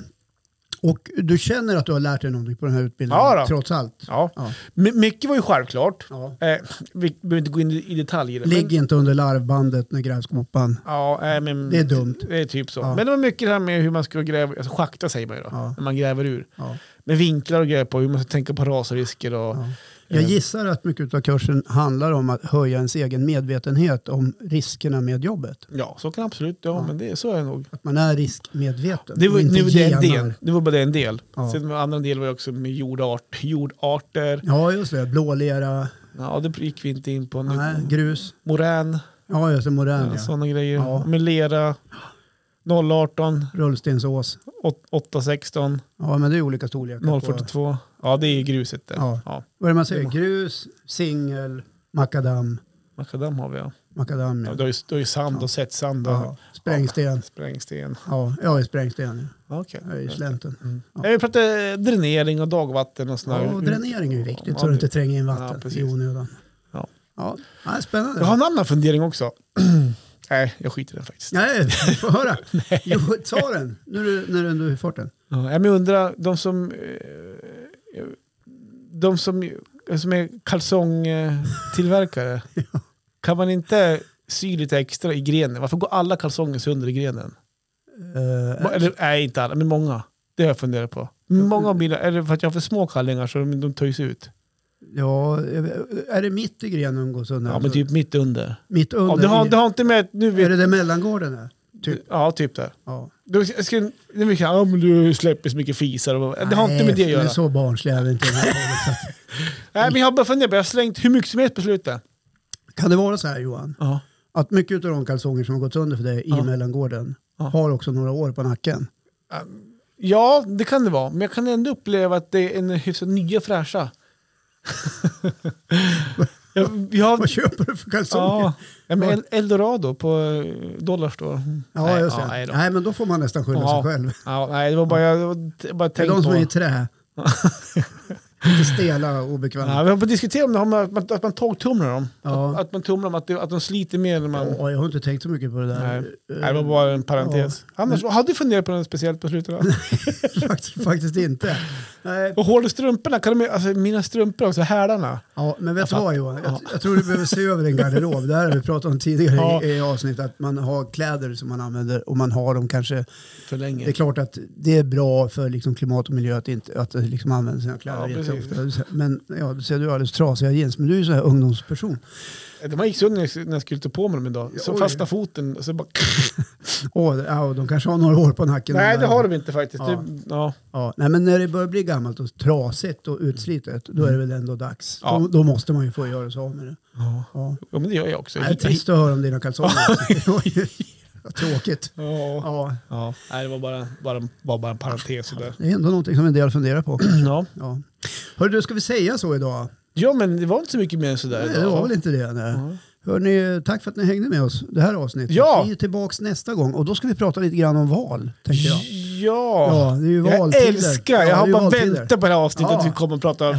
[SPEAKER 2] och du känner att du har lärt dig någonting på den här utbildningen
[SPEAKER 1] Ja då.
[SPEAKER 2] trots allt?
[SPEAKER 1] Ja.
[SPEAKER 2] Ja.
[SPEAKER 1] My- mycket var ju självklart.
[SPEAKER 2] Ja.
[SPEAKER 1] Eh, vi behöver inte gå in i i detalj i det. men-
[SPEAKER 2] Ligg inte under larvbandet när grävskopan...
[SPEAKER 1] Ja, nej, men,
[SPEAKER 2] Det är dumt.
[SPEAKER 1] Det är typ så.
[SPEAKER 2] Ja.
[SPEAKER 1] Men det var mycket det här med hur man ska gräva, alltså schakta säger man ju då,
[SPEAKER 2] Ja.
[SPEAKER 1] när man gräver ur.
[SPEAKER 2] Ja.
[SPEAKER 1] Med vinklar och grejer på, hur man ska tänka på rasrisker och...
[SPEAKER 2] Ja.
[SPEAKER 1] Eh.
[SPEAKER 2] Jag gissar att mycket av kursen handlar om att höja ens egen medvetenhet om riskerna med jobbet.
[SPEAKER 1] Ja, så kan absolut, ja, men det, så är det nog.
[SPEAKER 2] Att man är riskmedveten.
[SPEAKER 1] Det var,
[SPEAKER 2] och inte
[SPEAKER 1] nu, var det, en
[SPEAKER 2] genar.
[SPEAKER 1] del. det var bara det en del.
[SPEAKER 2] Ja.
[SPEAKER 1] Sen den andra delen var ju också med jordart, jordarter.
[SPEAKER 2] Ja, just det. Blålera,
[SPEAKER 1] Ja, det gick vi inte in på. Nu.
[SPEAKER 2] nej, grus.
[SPEAKER 1] Morän.
[SPEAKER 2] Ja, just det. Modern,
[SPEAKER 1] Ja,
[SPEAKER 2] ja.
[SPEAKER 1] Sådana Alltså, grejer.
[SPEAKER 2] Ja.
[SPEAKER 1] Med lera, 018,
[SPEAKER 2] Rullstensås.
[SPEAKER 1] åt- 816,
[SPEAKER 2] Ja, men det är olika storlekar. på-
[SPEAKER 1] 042. Ja, det är ju gruset där.
[SPEAKER 2] Ja.
[SPEAKER 1] Ja.
[SPEAKER 2] Vad är det man säger? Grus, singel, makadam.
[SPEAKER 1] Makadam har vi ja.
[SPEAKER 2] Makadam,
[SPEAKER 1] ja
[SPEAKER 2] ja.
[SPEAKER 1] du, har ju, du har ju sand och sett sand och
[SPEAKER 2] ja. Sprängsten.
[SPEAKER 1] sprängsten.
[SPEAKER 2] Ja, jag är sprängsten.
[SPEAKER 1] Okej.
[SPEAKER 2] ja. Jag är i slänten.
[SPEAKER 1] Ja, Vi pratade eh, dränering och dagvatten och sådana
[SPEAKER 2] Ja, och dränering är ju viktigt så
[SPEAKER 1] Ja,
[SPEAKER 2] du
[SPEAKER 1] det-
[SPEAKER 2] inte tränger in
[SPEAKER 1] Ja,
[SPEAKER 2] vatten
[SPEAKER 1] precis.
[SPEAKER 2] i onödan.
[SPEAKER 1] Ja.
[SPEAKER 2] Ja, nej, spännande.
[SPEAKER 1] Jag har en annan fundering också. (clears throat) Nej, jag skiter i den faktiskt.
[SPEAKER 2] Nej,
[SPEAKER 1] (laughs)
[SPEAKER 2] få höra. Jo, ta den. Nu är du, när du ändå är i farten.
[SPEAKER 1] Ja, men jag undrar, de som... eh, De som, som är
[SPEAKER 2] (laughs)
[SPEAKER 1] kalsongtillverkare, kan man inte sy lite extra i grenen? Varför går alla kalsonger sönder i grenen?
[SPEAKER 2] Eh,
[SPEAKER 1] Eller nej, inte alla, men många. Det har jag funderat på. Många av mina, är det för att jag har för små kallingar så de, de töjs ut?
[SPEAKER 2] ja, är det mitt i grenen de går sönder?
[SPEAKER 1] Ja, men typ mitt under.
[SPEAKER 2] Mitt under?
[SPEAKER 1] Ja, det, har, det har inte med... Nu
[SPEAKER 2] Är
[SPEAKER 1] vet,
[SPEAKER 2] det där mellangården är? Typ.
[SPEAKER 1] ja, typ där.
[SPEAKER 2] Ja.
[SPEAKER 1] Du, jag ska, nu vill jag, ja, men du släpper så mycket fisar. Och, det har inte med det att
[SPEAKER 2] Nej,
[SPEAKER 1] göra.
[SPEAKER 2] men så barnslig är vi inte. i den här podden, så att-
[SPEAKER 1] Nej, men jag har bara funderat på, jag har slängt hur mycket som helst på slutet.
[SPEAKER 2] Kan det vara så här Johan?
[SPEAKER 1] Ja.
[SPEAKER 2] Att mycket av de kalsonger som har gått sönder för dig i
[SPEAKER 1] Ja.
[SPEAKER 2] mellangården
[SPEAKER 1] Ja.
[SPEAKER 2] har också några år på nacken.
[SPEAKER 1] Ja, det kan det vara. Men jag kan ändå uppleva att det är en hyfsat nya fräscha. (laughs) jag, jag,
[SPEAKER 2] (laughs) Vad köper du för kalsonger?
[SPEAKER 1] ja, ja, men El- Eldorado på eh, Dollarstore.
[SPEAKER 2] Ja,
[SPEAKER 1] Nej,
[SPEAKER 2] just det.
[SPEAKER 1] ja, nej då.
[SPEAKER 2] nej, men då får man nästan skylla
[SPEAKER 1] Ja.
[SPEAKER 2] sig själv.
[SPEAKER 1] Ja, nej, det var bara, jag, jag bara
[SPEAKER 2] Det är
[SPEAKER 1] tänkt
[SPEAKER 2] de som
[SPEAKER 1] på.
[SPEAKER 2] är
[SPEAKER 1] (laughs)
[SPEAKER 2] i trä. Lite stela och obekväma.
[SPEAKER 1] Ja, vi har på diskuterat om det, har med att man, att man tågtumlar dem.
[SPEAKER 2] Ja.
[SPEAKER 1] Att, att man tumlar dem, att, det, att de sliter mer när man...
[SPEAKER 2] Ja, jag har inte tänkt så mycket på det
[SPEAKER 1] Nej.
[SPEAKER 2] där.
[SPEAKER 1] Nej, det var bara en parentes. Annars, hade du funderat på något speciellt på slutet? då?
[SPEAKER 2] (laughs) faktiskt, Eh, faktiskt inte. Nej.
[SPEAKER 1] Och hål i strumporna, kan de, alltså, mina strumpor också, hälarna.
[SPEAKER 2] Ja, men vet du
[SPEAKER 1] Jag
[SPEAKER 2] vad Johan? Jag, jag tror du behöver se över din garderob. Det här har vi pratat om tidigare
[SPEAKER 1] Ja.
[SPEAKER 2] i, i avsnitt. Att man har kläder som man använder och man har dem kanske.
[SPEAKER 1] För länge.
[SPEAKER 2] Det är klart att det är bra för liksom klimat och miljö att, inte, att liksom använda sina kläder
[SPEAKER 1] Ja, precis.
[SPEAKER 2] jätteofta. Men ja, du ser du har alldeles trasiga jeans. Men du är ju sån här ungdomsperson.
[SPEAKER 1] De här gick sönder när jag skulle ta på mig dem idag. Så
[SPEAKER 2] Oj.
[SPEAKER 1] fastnade foten. och Så bara...
[SPEAKER 2] Och, ja, och de kanske har några år på nacken.
[SPEAKER 1] Nej,
[SPEAKER 2] De
[SPEAKER 1] det
[SPEAKER 2] där.
[SPEAKER 1] har de inte faktiskt.
[SPEAKER 2] Ja.
[SPEAKER 1] eh, Ja. ja.
[SPEAKER 2] Ja, nej, men när det börjar bli gammalt och trasigt och utslitet, då är det väl ändå dags.
[SPEAKER 1] Ja.
[SPEAKER 2] Då, då måste man ju få göra sig av med det.
[SPEAKER 1] ja.
[SPEAKER 2] Ja.
[SPEAKER 1] men det gör jag också.
[SPEAKER 2] Det är trist att höra om dina (laughs) kalsonger. Vad Tråkigt.
[SPEAKER 1] Ja.
[SPEAKER 2] Ja,
[SPEAKER 1] Ja. Nej, det var bara, bara, var bara en parentes. Där.
[SPEAKER 2] det är ändå någonting som en del funderar på.
[SPEAKER 1] Ja.
[SPEAKER 2] Ja. Hörru du, ska vi säga så idag?
[SPEAKER 1] ja, men det var inte så mycket mer än sådär.
[SPEAKER 2] Nej,
[SPEAKER 1] idag.
[SPEAKER 2] det var väl inte det. Nej.
[SPEAKER 1] Ja.
[SPEAKER 2] Hörrni, tack för att ni hängde med oss det här avsnittet.
[SPEAKER 1] Ja.
[SPEAKER 2] Vi är tillbaka nästa gång och då ska vi prata lite grann om val. Tänker jag.
[SPEAKER 1] Ja,
[SPEAKER 2] Ja, det är ju
[SPEAKER 1] jag
[SPEAKER 2] valtider.
[SPEAKER 1] älskar,
[SPEAKER 2] Ja, det
[SPEAKER 1] jag
[SPEAKER 2] är
[SPEAKER 1] har
[SPEAKER 2] ju
[SPEAKER 1] bara
[SPEAKER 2] valtider.
[SPEAKER 1] väntat på det här avsnittet
[SPEAKER 2] Ja.
[SPEAKER 1] att vi kommer att prata val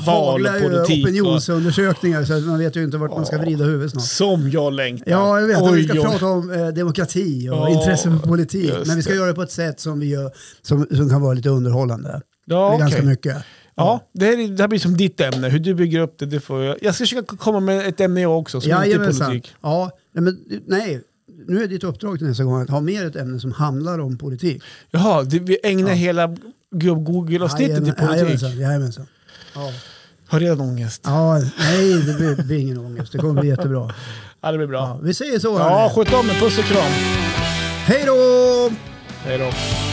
[SPEAKER 2] Haglar
[SPEAKER 1] och
[SPEAKER 2] ju
[SPEAKER 1] politik.
[SPEAKER 2] opinionsundersökningar så att man vet ju inte vart man ska
[SPEAKER 1] Ja.
[SPEAKER 2] vrida huvudet
[SPEAKER 1] och,
[SPEAKER 2] snart.
[SPEAKER 1] som jag längtar.
[SPEAKER 2] Ja, jag vet. att vi ska
[SPEAKER 1] Oj, oj.
[SPEAKER 2] prata om eh, demokrati och
[SPEAKER 1] Ja,
[SPEAKER 2] intresse för politik.
[SPEAKER 1] just
[SPEAKER 2] Men vi ska
[SPEAKER 1] det.
[SPEAKER 2] göra det på ett sätt som, vi gör, som, som kan vara lite underhållande.
[SPEAKER 1] Ja,
[SPEAKER 2] det är
[SPEAKER 1] okej.
[SPEAKER 2] ganska mycket.
[SPEAKER 1] Ja, det här, är- det här blir som ditt ämne. Hur du bygger upp det, det får jag. Jag ska försöka komma med ett ämne jag också, som inte är
[SPEAKER 2] Jajamensan.
[SPEAKER 1] politik.
[SPEAKER 2] Ja, nej, men, nej, nu är ditt uppdrag till nästa gång att ha mer ett ämne som handlar om politik.
[SPEAKER 1] Jaha, det, vi ägnar hela gubb- Google-avsnittet till
[SPEAKER 2] Jajamän-
[SPEAKER 1] politik.
[SPEAKER 2] Jajamensan. jajamensan. Ja.
[SPEAKER 1] Har redan ångest.
[SPEAKER 2] ja, nej, det blir, blir ingen ångest. Det kommer bli jättebra.
[SPEAKER 1] Ja, det blir bra.
[SPEAKER 2] Ja, vi säger så.
[SPEAKER 1] Ja,
[SPEAKER 2] hörni.
[SPEAKER 1] sköt om er. Puss och kram.
[SPEAKER 2] Hej då!
[SPEAKER 1] Hej då.